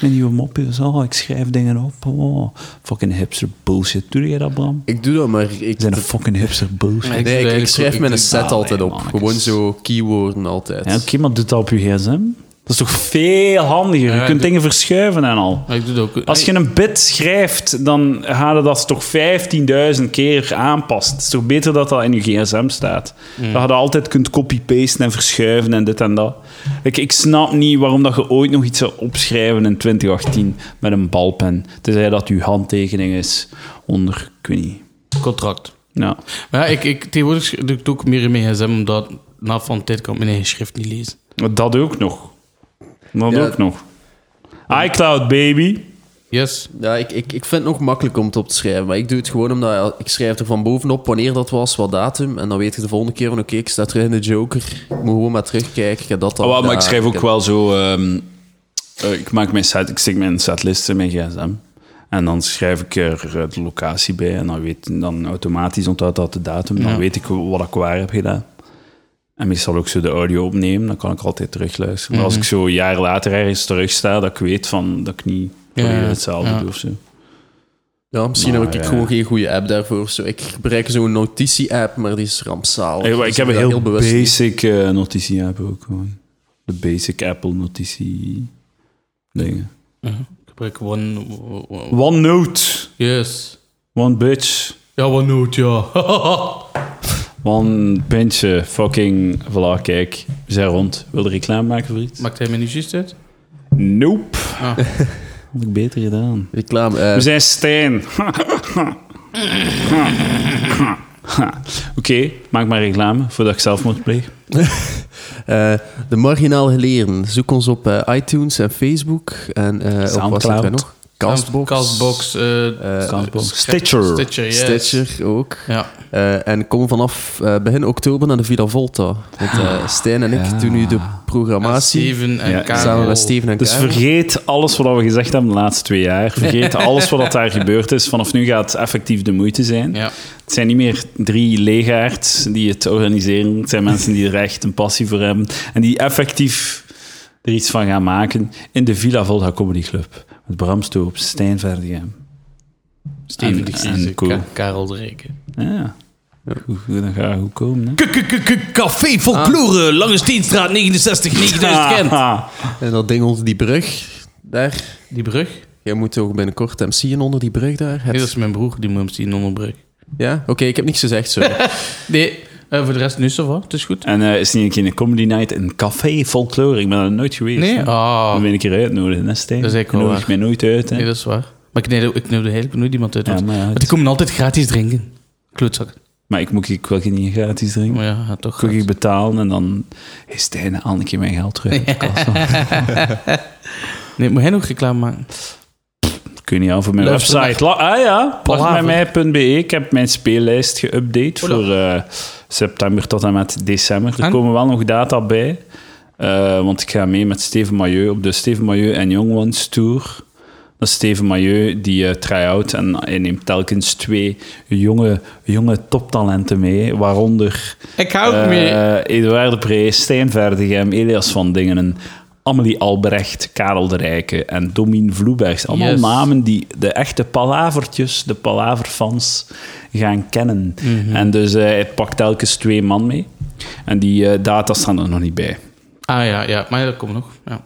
S1: mijn nieuwe mop is, oh, ik schrijf dingen op, oh, fucking hipster bullshit. Doe jij dat, Bram?
S3: Ik doe dat, maar ik,
S1: Je bent een fucking hipster bullshit.
S2: Nee, ik doe
S3: nee, ik, ik
S2: eigenlijk
S3: schrijf
S2: ook-
S3: mijn
S2: ik-
S3: set
S1: Ah,
S3: altijd
S1: nee,
S3: op.
S1: mannetjes.
S3: Gewoon zo keywoorden altijd.
S1: Ja, Oké, maar doe dat op je gsm. Dat is toch veel handiger?
S2: Ja,
S1: Je kunt
S2: doe-
S1: dingen verschuiven en al.
S2: Maar ik doe dat ook.
S1: Als je een bit schrijft, dan ga je dat toch 15.000 keer aanpast. Het is toch beter dat dat in je gsm staat. Dat je dat altijd kunt copy-pasten en verschuiven en dit en dat. Ik, ik snap niet waarom dat je ooit nog iets zou opschrijven in 2018 met een balpen. Tenzij dat je handtekening is onder, ik weet niet.
S2: contract.
S1: Ja.
S2: Maar ja, ik, ik, tegenwoordig sch- doe ik het ook meer in mijn gsm, omdat na van de tijd kan ik mijn eigen schrift niet lezen.
S1: Maar Dat ook nog. Dat
S3: Ja.
S1: ook nog. iCloud, baby.
S2: Yes.
S3: Ja, ik, ik, ik vind het nog makkelijk om het op te schrijven. Maar ik doe het gewoon omdat ik schrijf er van bovenop wanneer dat was, wat datum. En dan weet je de volgende keer van oké, ik sta terug in de Joker. Ik moet gewoon maar terugkijken. Ik heb dat al
S1: Oh, maar ik
S3: gedaan.
S1: schrijf ook
S3: heb-
S1: wel zo. ehm, eh, ik maak mijn set, ik stik mijn setlist in mijn gsm. En dan schrijf ik er eh, de locatie bij. En dan, weet, dan automatisch onthoudt dat de datum. Dan
S2: Ja.
S1: weet ik wat ik waar heb gedaan. En meestal ook zo de audio opnemen. Dan kan ik altijd terugluisteren. Maar als
S2: Mhm.
S1: ik zo een jaar later ergens terugsta, dat ik weet van, dat ik niet
S2: Ja,
S1: volledig hetzelfde
S2: ja.
S1: doe of zo.
S3: Ja, misschien
S1: Maar,
S3: heb ik
S1: eh,
S3: gewoon geen goede app daarvoor. of Zo. Ik gebruik zo'n notitie-app, maar die is rampzalig.
S1: Ik,
S3: Dus
S1: ik heb een
S3: ben
S1: heel,
S3: daar bewust van.
S1: basic eh, notitie app ook gewoon. De basic Apple notitie dingen.
S2: Mhm. Ik gebruik one... o- o-
S1: OneNote.
S2: Yes.
S1: One bitch.
S2: Ja, OneNote, ja.
S1: One pintje, fucking, voilà, kijk, we zijn rond. Wil je reclame maken voor iets?
S2: Maakt hij me niet juist uit?
S1: Nope.
S2: Ah.
S1: Had ik beter gedaan.
S3: Reclame. eh,
S1: We zijn Stijn. Oké, maak maar reclame voordat ik zelf moet plegen.
S3: eh, de marginaal geleren. Zoek ons op eh, iTunes en Facebook. En eh, op wat
S1: Soundcloud.
S3: zitten wij nog? Castbox.
S2: Castbox. eh,
S3: eh,
S1: Castbox. Stitcher.
S2: Stitcher, yes.
S3: Stitcher ook.
S2: Ja.
S3: Eh, en kom vanaf eh, begin oktober naar de Villa Volta. Want eh, Stijn en ik
S1: Ah, Ja.
S3: doen nu de
S2: En
S3: programmatie.
S2: Steven en
S1: Ja,
S2: Karel.
S3: samen met Steven en
S1: Dus
S3: Karel.
S1: vergeet alles wat we gezegd hebben de laatste twee jaar. Vergeet alles wat daar gebeurd is. Vanaf nu gaat het effectief de moeite zijn.
S2: Ja.
S1: Het zijn niet meer drie legaards die het organiseren. Het zijn mensen die er echt een passie voor hebben. En die effectief er iets van gaan maken in de Villa Volta Comedy Club. Met Bram Stoop, Stijn Verdegem.
S2: Steven de
S1: en
S2: Giese,
S1: cool.
S2: Ka- Karel de Rijken.
S1: Ja. Goed, goed, dan gaat het goed komen. Hè?
S2: Café Folklore, Lange Steenstraat 69, 9000 Gent.
S1: Ah,
S3: En dat ding onder die brug. Daar.
S2: Die brug?
S3: Jij moet toch binnenkort MC'en onder die brug daar? Het-
S2: Nee, dat is mijn broer, die moet hem zien onder brug.
S3: Ja? Oké, ik heb niks gezegd, sorry.
S2: Nee, eh, voor de rest nu zo wat, het is goed.
S1: en eh, is niet een keer een comedy night in Café Folklore? Ik ben er nooit geweest.
S2: Nee,
S1: hè.
S2: ah,
S1: Dan ben ik eruit uitnodigen, hè, Stijn?
S2: Dat is eigenlijk wel
S1: Nodig
S2: waar.
S1: mij nooit uit, hè?
S2: nee, dat is waar. Maar ik neem ik neem er eigenlijk nooit iemand uit.
S1: Ja,
S2: want-
S1: maar ja,
S2: want
S1: het-
S2: die komen altijd gratis drinken. Klootzak.
S1: Maar ik, moet, ik wil geen niet gratis drinken.
S2: Maar ja, ja, toch.
S1: Goed, ik betalen en dan... Hey, Stijn, haal een keer mijn geld terug uit de kassa.
S2: Nee, moet hij nog reclame maken?
S1: Kun je aan voor mijn
S2: Luister
S1: website. La- ah ja,
S2: Palaver.
S1: lachmetmij.be. Ik heb mijn speellijst geüpdate voor eh, september tot en met december. Er
S2: En?
S1: komen wel nog data bij. Eh, want ik ga mee met Steven Mailleu op de Steven Mailleu en Young Ones Tour. Dat is Steven Mailleu, die eh, try-out. En hij neemt telkens twee jonge, jonge toptalenten mee. Waaronder
S2: Ik hou
S1: eh,
S2: mee.
S1: Eduard de Prees, Stijn Verdegem, Elias van Dingenen, Amelie Albrecht, Karel de Rijke en Domien Vloebergs. Allemaal
S2: Yes.
S1: namen die de echte palavertjes, de palaverfans, gaan kennen. En dus eh, hij pakt telkens twee man mee. En die eh, data staan er nog niet bij.
S2: Ah ja, ja, maar ja, dat komt nog. Ja.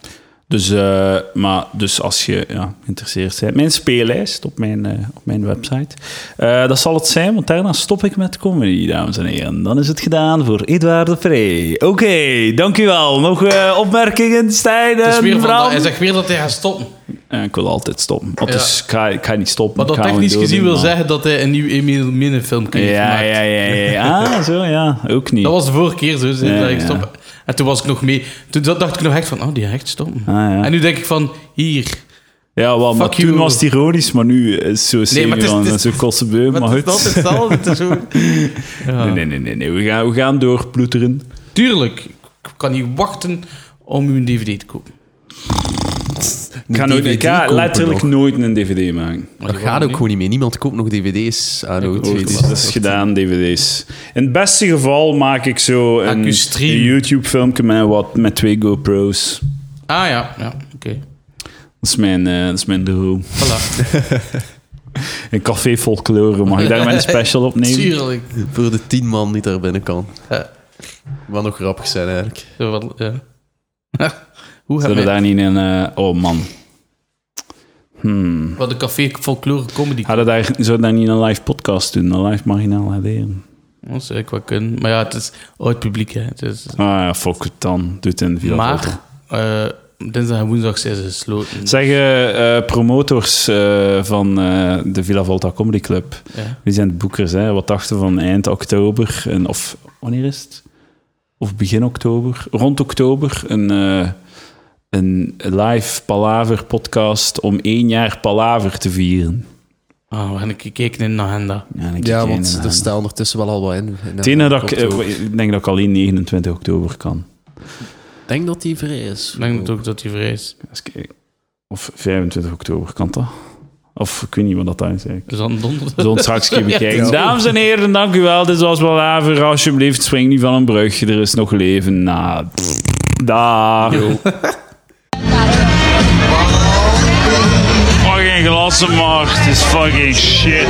S1: Dus, eh, maar, dus als je ja, geïnteresseerd bent, mijn speellijst op mijn, eh, op mijn website. Eh, dat zal het zijn, want daarna stop ik met comedy, dames en heren. Dan is het gedaan voor Edouard de Pre. Oké, dankjewel. Nog eh, opmerkingen, Stijn
S2: Het is
S1: en
S2: weer van,
S1: Bram?
S2: hij zegt weer dat hij gaat stoppen.
S1: En ik wil altijd stoppen. Want
S2: Ja.
S1: dus ik ga, ik ga niet stoppen.
S2: Wat
S1: ik
S2: dat
S1: ga gewoon
S2: technisch gezien wil
S1: doordoen, maar-
S2: zeggen dat hij een nieuw Emil Minne filmpje heeft
S1: Ja,
S2: gemaakt.
S1: ja, ja, ja, ja. Ah, zo, ja. Ook niet.
S2: Dat was de vorige keer zo. zei
S1: Ja,
S2: dat ik
S1: ja.
S2: stop. En toen was ik nog mee. Toen dacht ik nog echt van, oh, die gaat echt stoppen.
S1: Ah, ja.
S2: En nu denk ik van, hier.
S1: ja, wel, maar
S2: Fuck
S1: toen
S2: you.
S1: was het ironisch, maar nu is het zo
S2: Nee, maar het is-
S1: serieus
S2: het
S1: en
S2: is-
S1: zo kostenbeu. Maar
S2: Maar het is altijd
S1: goed.
S2: hetzelfde. het is zo- Ja.
S1: Nee, nee, nee, nee, nee. We, gaan, we gaan doorploeteren.
S2: Tuurlijk. Ik kan niet wachten om uw DVD te kopen.
S1: Ik ga, nooit, ik ga letterlijk nooit een dvd maken.
S2: Maar
S3: Dat
S2: die
S3: gaat
S2: worden
S3: ook
S2: niet.
S3: gewoon niet meer. Niemand koopt nog dvd's aan
S2: Ik
S3: oud.
S2: ook
S1: Ooit,
S2: Tweede.
S1: dat is gedaan, dvd's. In het beste geval maak ik zo een,
S2: Accu stream.
S1: een YouTube-filmpje met, wat, met twee GoPro's.
S2: Ah ja, ja oké.
S1: Dat is mijn, eh, dat is mijn droom.
S2: Voilà.
S1: Een café folklore. Mag ik daar mijn special opnemen?
S2: Tuurlijk.
S3: Voor de tien man die daar binnen kan.
S2: Ja.
S3: Wat nog grappig zijn eigenlijk.
S2: Zo wat, ja. Hoe
S1: Zullen we
S2: hebben we
S1: daar niet in... eh, oh, man. Hmm.
S2: wat de café folklore comedy?
S1: Hadden daar, zou daar niet een live podcast doen? Een live marginaal hadden?
S2: Dat zou ik wel kunnen. Maar ja, het is oud publiek. Hè. Het is,
S1: Ah ja, fuck het dan. Doe het in de Villa Volta.
S2: maar eh, dinsdag en woensdag zijn ze gesloten.
S1: Zeg, eh, eh, promotors eh, van eh, de Villa Volta Comedy Club.
S2: Ja.
S1: Die zijn de boekers, hè. Wat dachten van eind oktober? En, of wanneer is het? Of begin oktober? Rond oktober een, eh, een live Palaver podcast om één jaar Palaver te vieren.
S2: Ah, we gaan een keer kijken in de agenda.
S1: Ja, en ik
S3: Ja,
S1: kijk
S3: want
S1: ernaar.
S3: er staan ondertussen wel al wat in.
S1: Het enige dat ik, eh, ik denk dat ik alleen 29 oktober kan.
S3: denk dat die vrij is.
S2: Ik denk ook dat die vrij is.
S1: Eens kijken. Of 25 oktober, kan dat? Of ik weet niet wat dat is eigenlijk.
S2: Dus dan donderdag.
S1: Zo'n straks even kijken.
S3: Ja.
S1: Dames en heren, dank u wel. Dit was Balaver. Alsjeblieft, spring niet van een brug. Er is nog leven na. Daar. Fucking glassenmacht is fucking shit.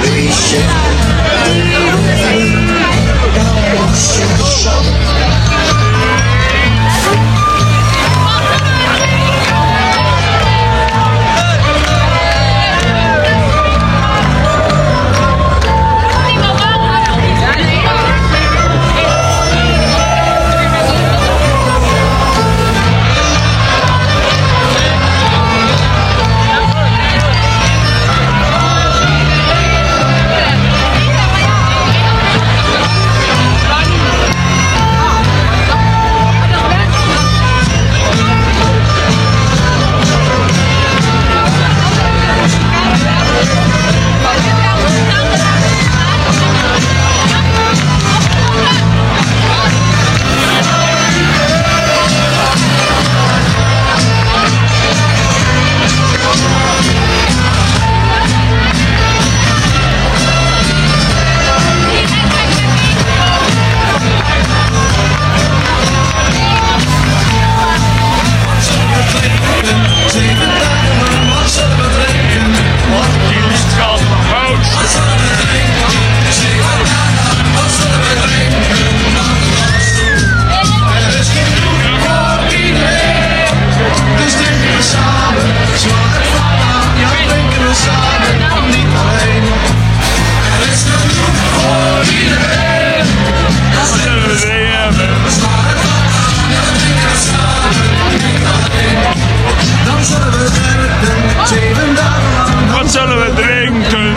S1: Wat zullen we drinken?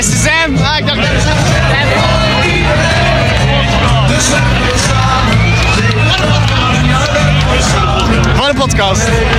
S4: SSM! Ah, ik dacht dat Wat een podcast!